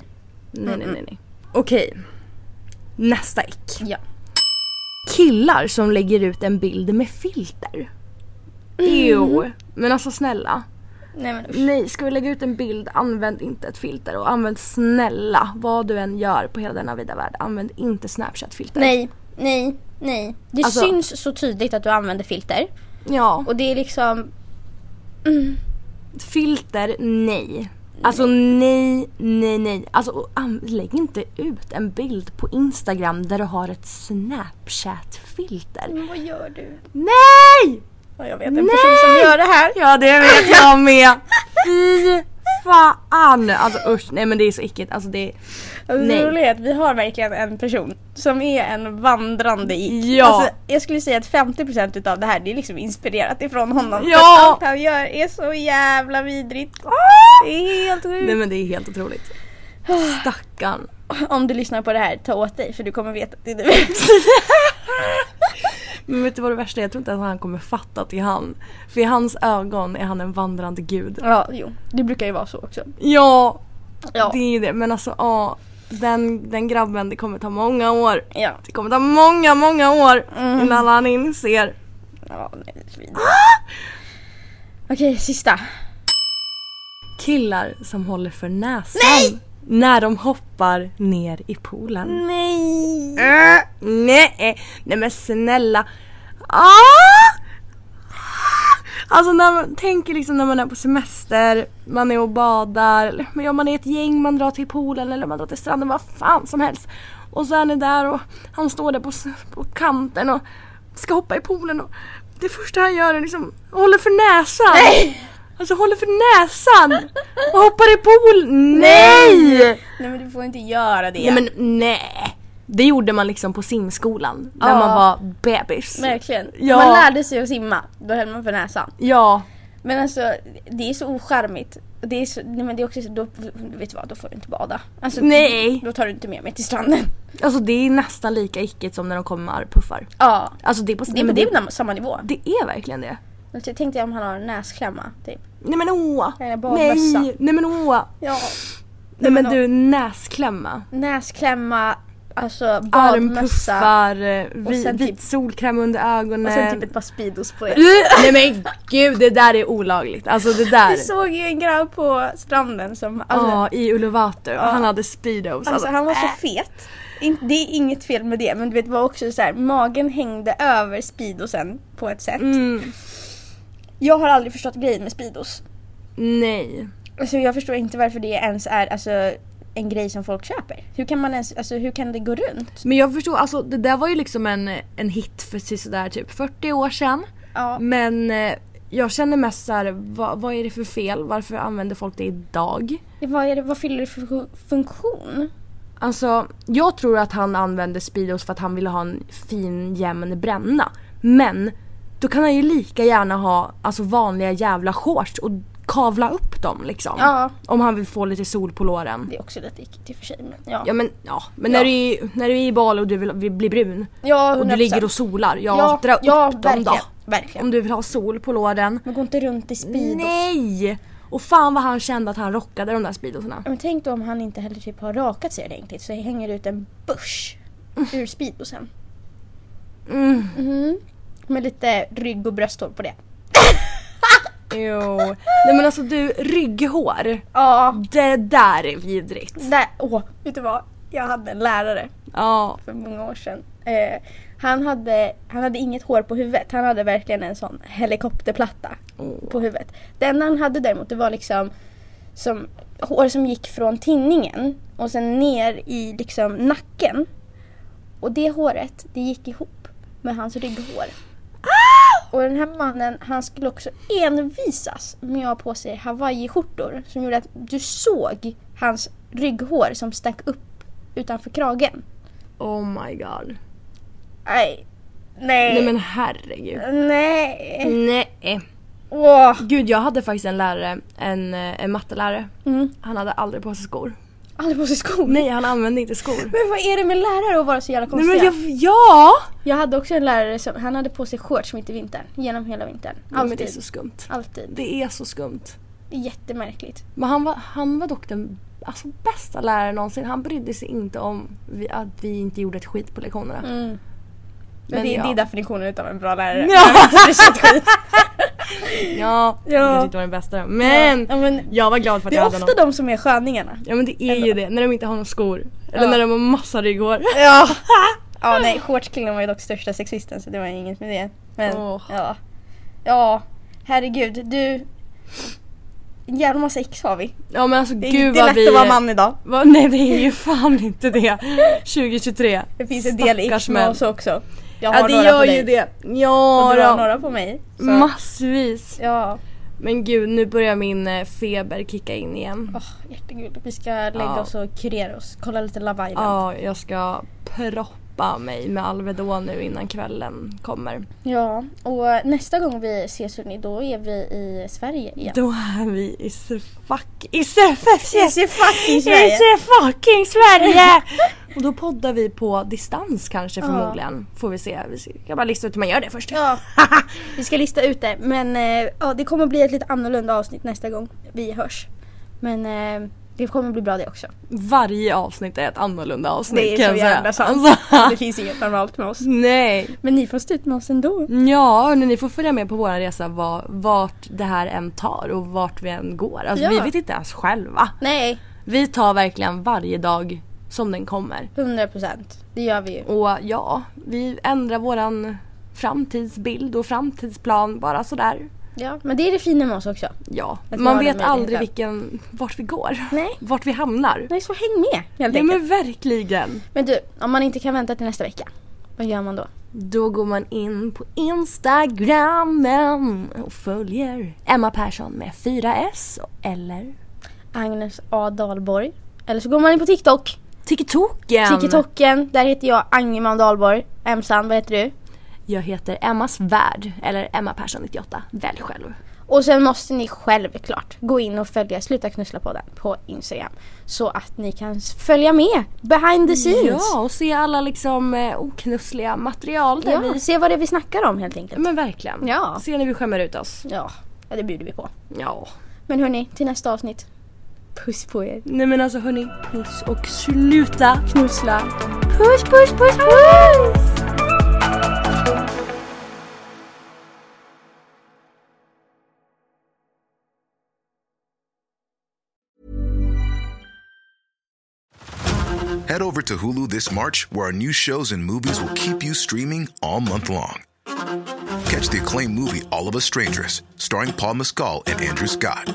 S4: Nej nej nej. nej. Okej. Nästa ick.
S3: Ja.
S4: Killar som lägger ut en bild med filter. Jo. Men alltså snälla.
S3: Nej men Mm. usch.
S4: Nej, ska vi lägga ut en bild, använd inte ett filter och använd snälla vad du än gör på hela denna vida värld, använd inte snapchat-filter.
S3: Nej, nej, nej. Det
S4: Alltså-
S3: syns så tydligt att du använder filter.
S4: Ja,
S3: Och det är liksom,
S4: filter, nej. Alltså nej, nej, nej. Alltså och an- lägg inte ut en bild på Instagram där du har ett snapchat-filter.
S3: men vad gör du?
S4: Nej!
S3: Ja, jag vet en person som gör det här.
S4: Ja, det vet jag med. Fy fan! Alltså usch, nej men det är så äckligt. Alltså det
S6: Alltså,
S4: Nej.
S6: det roliga är att vi har verkligen en person som är en vandrande ick.
S4: Ja.
S6: Alltså, jag skulle säga att 50% utav det här det är liksom inspirerat ifrån honom.
S4: Ja.
S6: För allt han gör är så jävla vidrigt. Det är helt sjukt.
S4: Nej men det är helt otroligt. Stackarn.
S6: Om du lyssnar på det här, ta åt dig för du kommer veta att det är du.
S4: Men vet du vad det värsta är? Jag tror inte ens han kommer fatta att det är han. För i hans ögon är han en vandrande gud.
S6: Ja, jo. Det brukar ju vara så också.
S4: Ja,
S6: Ja.
S4: det är ju det. Men alltså ja, den, den grabben det kommer ta många år.
S6: Ja. Mm.
S4: Det kommer ta många, många år innan han inser.
S6: ja nej, det är så vidrigt. Okej, sista.
S4: Killar som håller för näsan. Nej! När de hoppar ner i poolen.
S6: Nej!
S4: Äh, nej, nej men snälla. Ah! Alltså när man tänker liksom när man är på semester, man är och badar, eller men ja, man är ett gäng, man drar till poolen eller man drar till stranden, vad fan som helst. Och så är ni där och han står där på, s- på kanten och ska hoppa i poolen och det första han gör är liksom håller för näsan. Nej! Alltså håller för näsan och hoppar i poolen. Nej!
S6: Nej men du får inte göra det.
S4: Nej men nej! Det gjorde man liksom på simskolan när man var bebis.
S6: Verkligen.
S4: Ja.
S6: Man lärde sig att simma, då höll man för näsan.
S4: Ja,
S6: Men alltså det är så ocharmigt. Det är så, nej men det är också så, då, vet du vad, då får du inte bada. Alltså,
S4: Nej.
S6: Då tar du inte med mig till stranden.
S4: alltså det är nästan lika ickigt som när de kommer med armpuffar.
S6: Ja.
S4: Alltså det är på
S6: Det är på
S4: men
S6: det, är på samma nivå.
S4: det är verkligen det.
S6: Alltså, jag tänkte om han har en näsklämma typ.
S4: Nej men åh!
S6: Eller badmössa.
S4: Nej, nej men åh!
S6: Ja.
S4: Nej men
S6: men
S4: du näsklämma,
S6: Näsklämma, alltså badmössa.
S4: armpuffar, eh, vi,
S6: sen
S4: vit
S6: typ-
S4: solkräm under ögonen.
S6: Och
S3: alltså,
S6: sen typ ett par Speedos på er.
S4: Ugh, Nej men gud det där är olagligt. Alltså det där.
S6: Vi såg ju en grabb på stranden som, alltså,
S4: Ja, i Uluwatu. Han hade speedos.
S6: Alltså han var så
S4: Äh.
S6: fet. In- Det är inget fel med det men du vet det var också så här, magen hängde över speedosen på ett sätt.
S4: Mm,
S6: Jag har aldrig förstått grejen med speedos.
S4: nej.
S6: Alltså jag förstår inte varför det ens är alltså, en grej som folk köper. Hur kan man ens, alltså hur kan det gå runt?
S4: Men jag förstår, alltså det där var ju liksom en, en hit för sig sådär typ 40 år sedan.
S6: Ja.
S4: Men eh, jag känner mest såhär, vad, vad är det för fel? Varför använder folk det idag?
S6: Vad, är det, vad fyller det för fu- funktion?
S4: Alltså, jag tror att han använde Speedos för att han ville ha en fin jämn bränna. Men då kan han ju lika gärna ha alltså, vanliga jävla shorts och kavla upp dem liksom.
S6: Ja.
S4: Om han vill få lite sol på låren.
S6: Det är också lite ickigt i och för sig men ja.
S4: Ja men, ja. men När, du är, när du är i bal och du vill, vill bli brun
S6: Ja,
S4: och du
S6: 100%.
S4: ligger och solar, ja,
S6: Ja,
S4: dra upp
S6: ja,
S4: dem
S6: verkligen,
S4: då.
S6: verkligen.
S4: Om du vill ha sol på låren.
S6: Men gå inte runt i speedos.
S4: Nej! Och fan vad han kände att han rockade de där speedosarna.
S6: Ja, Men tänk då om han inte heller typ har rakat sig ordentligt så hänger det ut en busch ur speedosen.
S4: Mm.
S6: Mhm. Med lite rygg och brösthår på det.
S4: Jo. Nej men alltså du, rygghår.
S6: Ja.
S4: Det där är vidrigt.
S6: Där, åh, vet du vad? Jag hade en lärare
S4: Ja.
S6: för många år sedan. Eh, han, hade, han hade inget hår på huvudet. Han hade verkligen en sån helikopterplatta på huvudet. Det enda han hade däremot det var liksom som, hår som gick från tinningen och sen ner i liksom nacken. Och det håret, det gick ihop med hans rygghår. Och den här mannen, han skulle också envisas med att ha på sig hawaiiskjortor som gjorde att du såg hans rygghår som stack upp utanför kragen.
S4: Oh my god.
S6: Nej. Nej.
S4: Nej men herregud.
S6: Nej.
S4: Nej.
S6: Åh.
S4: Gud jag hade faktiskt en lärare, en, eh, en mattelärare.
S6: Mm.
S4: Han hade aldrig på sig skor.
S6: Aldrig på sig skor.
S4: Nej han använde inte skor.
S6: Men vad är det med lärare att vara så jävla
S4: Nej
S6: konstiga?
S4: men jag,
S6: jag...
S4: ja!
S6: hade också en lärare som, han hade på sig shorts mitt i vintern. Genom hela vintern.
S4: Nej, men
S6: Alltid.
S4: det är så skumt.
S6: Alltid.
S4: Det är så skumt.
S6: Jättemärkligt.
S4: Men han var, han var dock den alltså, bästa läraren någonsin. Han brydde sig inte om vi, att vi inte gjorde ett skit på lektionerna.
S6: Mm.
S4: Men
S6: det,
S4: ja.
S6: det är definitionen utav en bra lärare.
S4: Ja.
S6: Det är så skit.
S4: Ja,
S6: Ja.
S4: jag kanske inte var den bästa. Men
S6: Ja, men
S4: jag var glad för att
S6: det
S4: jag
S6: är
S4: hade
S6: ofta
S4: honom.
S6: de som är sköningarna.
S4: Ja men det är ju det, när de inte har några skor. Eller
S6: Ja.
S4: när de har massa rygghår.
S6: Ja. ja nej, shortskillen var ju dock största sexisten så det var inget med det. Men
S4: Åh.
S6: ja. Ja, herregud. Du. En jävla massa x har vi.
S4: Ja men alltså
S6: Det är
S4: gud
S6: inte
S4: vad
S6: lätt
S4: vi...
S6: att vara man idag.
S4: Vad- nej det är ju fan inte det. 2023.
S6: Det finns en del
S4: Stackars
S6: x med
S4: män.
S6: oss också. Jag har
S4: Ja det
S6: några
S4: gör
S6: på
S4: ju
S6: dig
S4: det.
S6: och
S4: Ja
S6: du har
S4: då.
S6: några på mig. Så.
S4: Massvis.
S6: Ja.
S4: Men gud, nu börjar min eh, feber kicka in igen.
S6: Åh, Hjärtegud. Vi ska lägga
S4: Ja.
S6: oss och kurera oss. Kolla lite Love Island.
S4: Ja, jag ska proppa mig med Alvedon nu innan kvällen kommer.
S6: Ja, och nästa gång vi ses hörni, då är vi i Sverige igen.
S4: Då är vi i se- fuck... I se- fuck-
S6: Yes, i fucking
S4: I
S6: Sverige!
S4: se- fucking Sverige! Och då poddar vi på distans kanske förmodligen. Får vi se. Vi ska bara lista ut hur man gör det först.
S6: Ja, vi ska lista ut det. Men eh, ja, det kommer bli ett lite annorlunda avsnitt nästa gång vi hörs. Men eh, det kommer bli bra det också.
S4: Varje avsnitt är ett annorlunda avsnitt
S6: Det är
S4: kan
S6: så
S4: jag säga.
S6: jävla sant.
S4: Alltså,
S6: Det finns inget normalt med oss.
S4: nej.
S6: Men ni får stå ut med oss ändå.
S4: Ja, hörni, ni får följa med på vår resa var, vart det här än tar och vart vi än går. Alltså,
S6: Ja.
S4: Vi vet inte ens själva.
S6: Nej,
S4: Vi tar verkligen varje dag som den kommer.
S6: 100 procent. Det gör vi ju.
S4: Och ja, vi ändrar våran framtidsbild och framtidsplan bara sådär.
S6: Ja, men det är det fina med oss också.
S4: Ja,
S6: Att vi
S4: man
S6: har den
S4: vet aldrig
S6: möjligheten.
S4: vilken, vart vi går.
S6: Nej.
S4: Vart vi hamnar.
S6: Nej, så häng med helt
S4: Ja
S6: enkelt.
S4: men verkligen.
S6: Men du, om man inte kan vänta till nästa vecka, vad gör man då?
S4: Då går man in på instagrammen och följer Emma Persson med 4S eller
S6: Agnes A Dahlborg. Eller så går man in på TikTok.
S4: TikToken.
S6: TikToken, där heter jag Angeman Dahlborg. Emsan, vad heter du?
S4: Jag heter Emmas Värld eller Emma Persson 98. Välj själv.
S6: Och sen måste ni självklart gå in och följa Sluta knussla podden på Instagram. Så att ni kan s- följa med behind the scenes.
S4: Ja, och se alla liksom eh, oknussliga material där
S6: ja
S4: vi...
S6: se vad det är vi snackar om helt enkelt.
S4: Men verkligen.
S6: Ja.
S4: Se när vi skämmer ut oss.
S6: Ja, ja det bjuder vi på.
S4: Ja.
S6: Men hörni, till nästa avsnitt. Puss på er.
S4: Nej men alltså hörni, puss och sluta
S6: Knussla.
S4: Puss puss puss puss!
S9: Head over to Hulu this March, where our new shows and movies will keep you streaming all month long. Catch the acclaimed movie All of Us Strangers, starring Paul Mescal and Andrew Scott.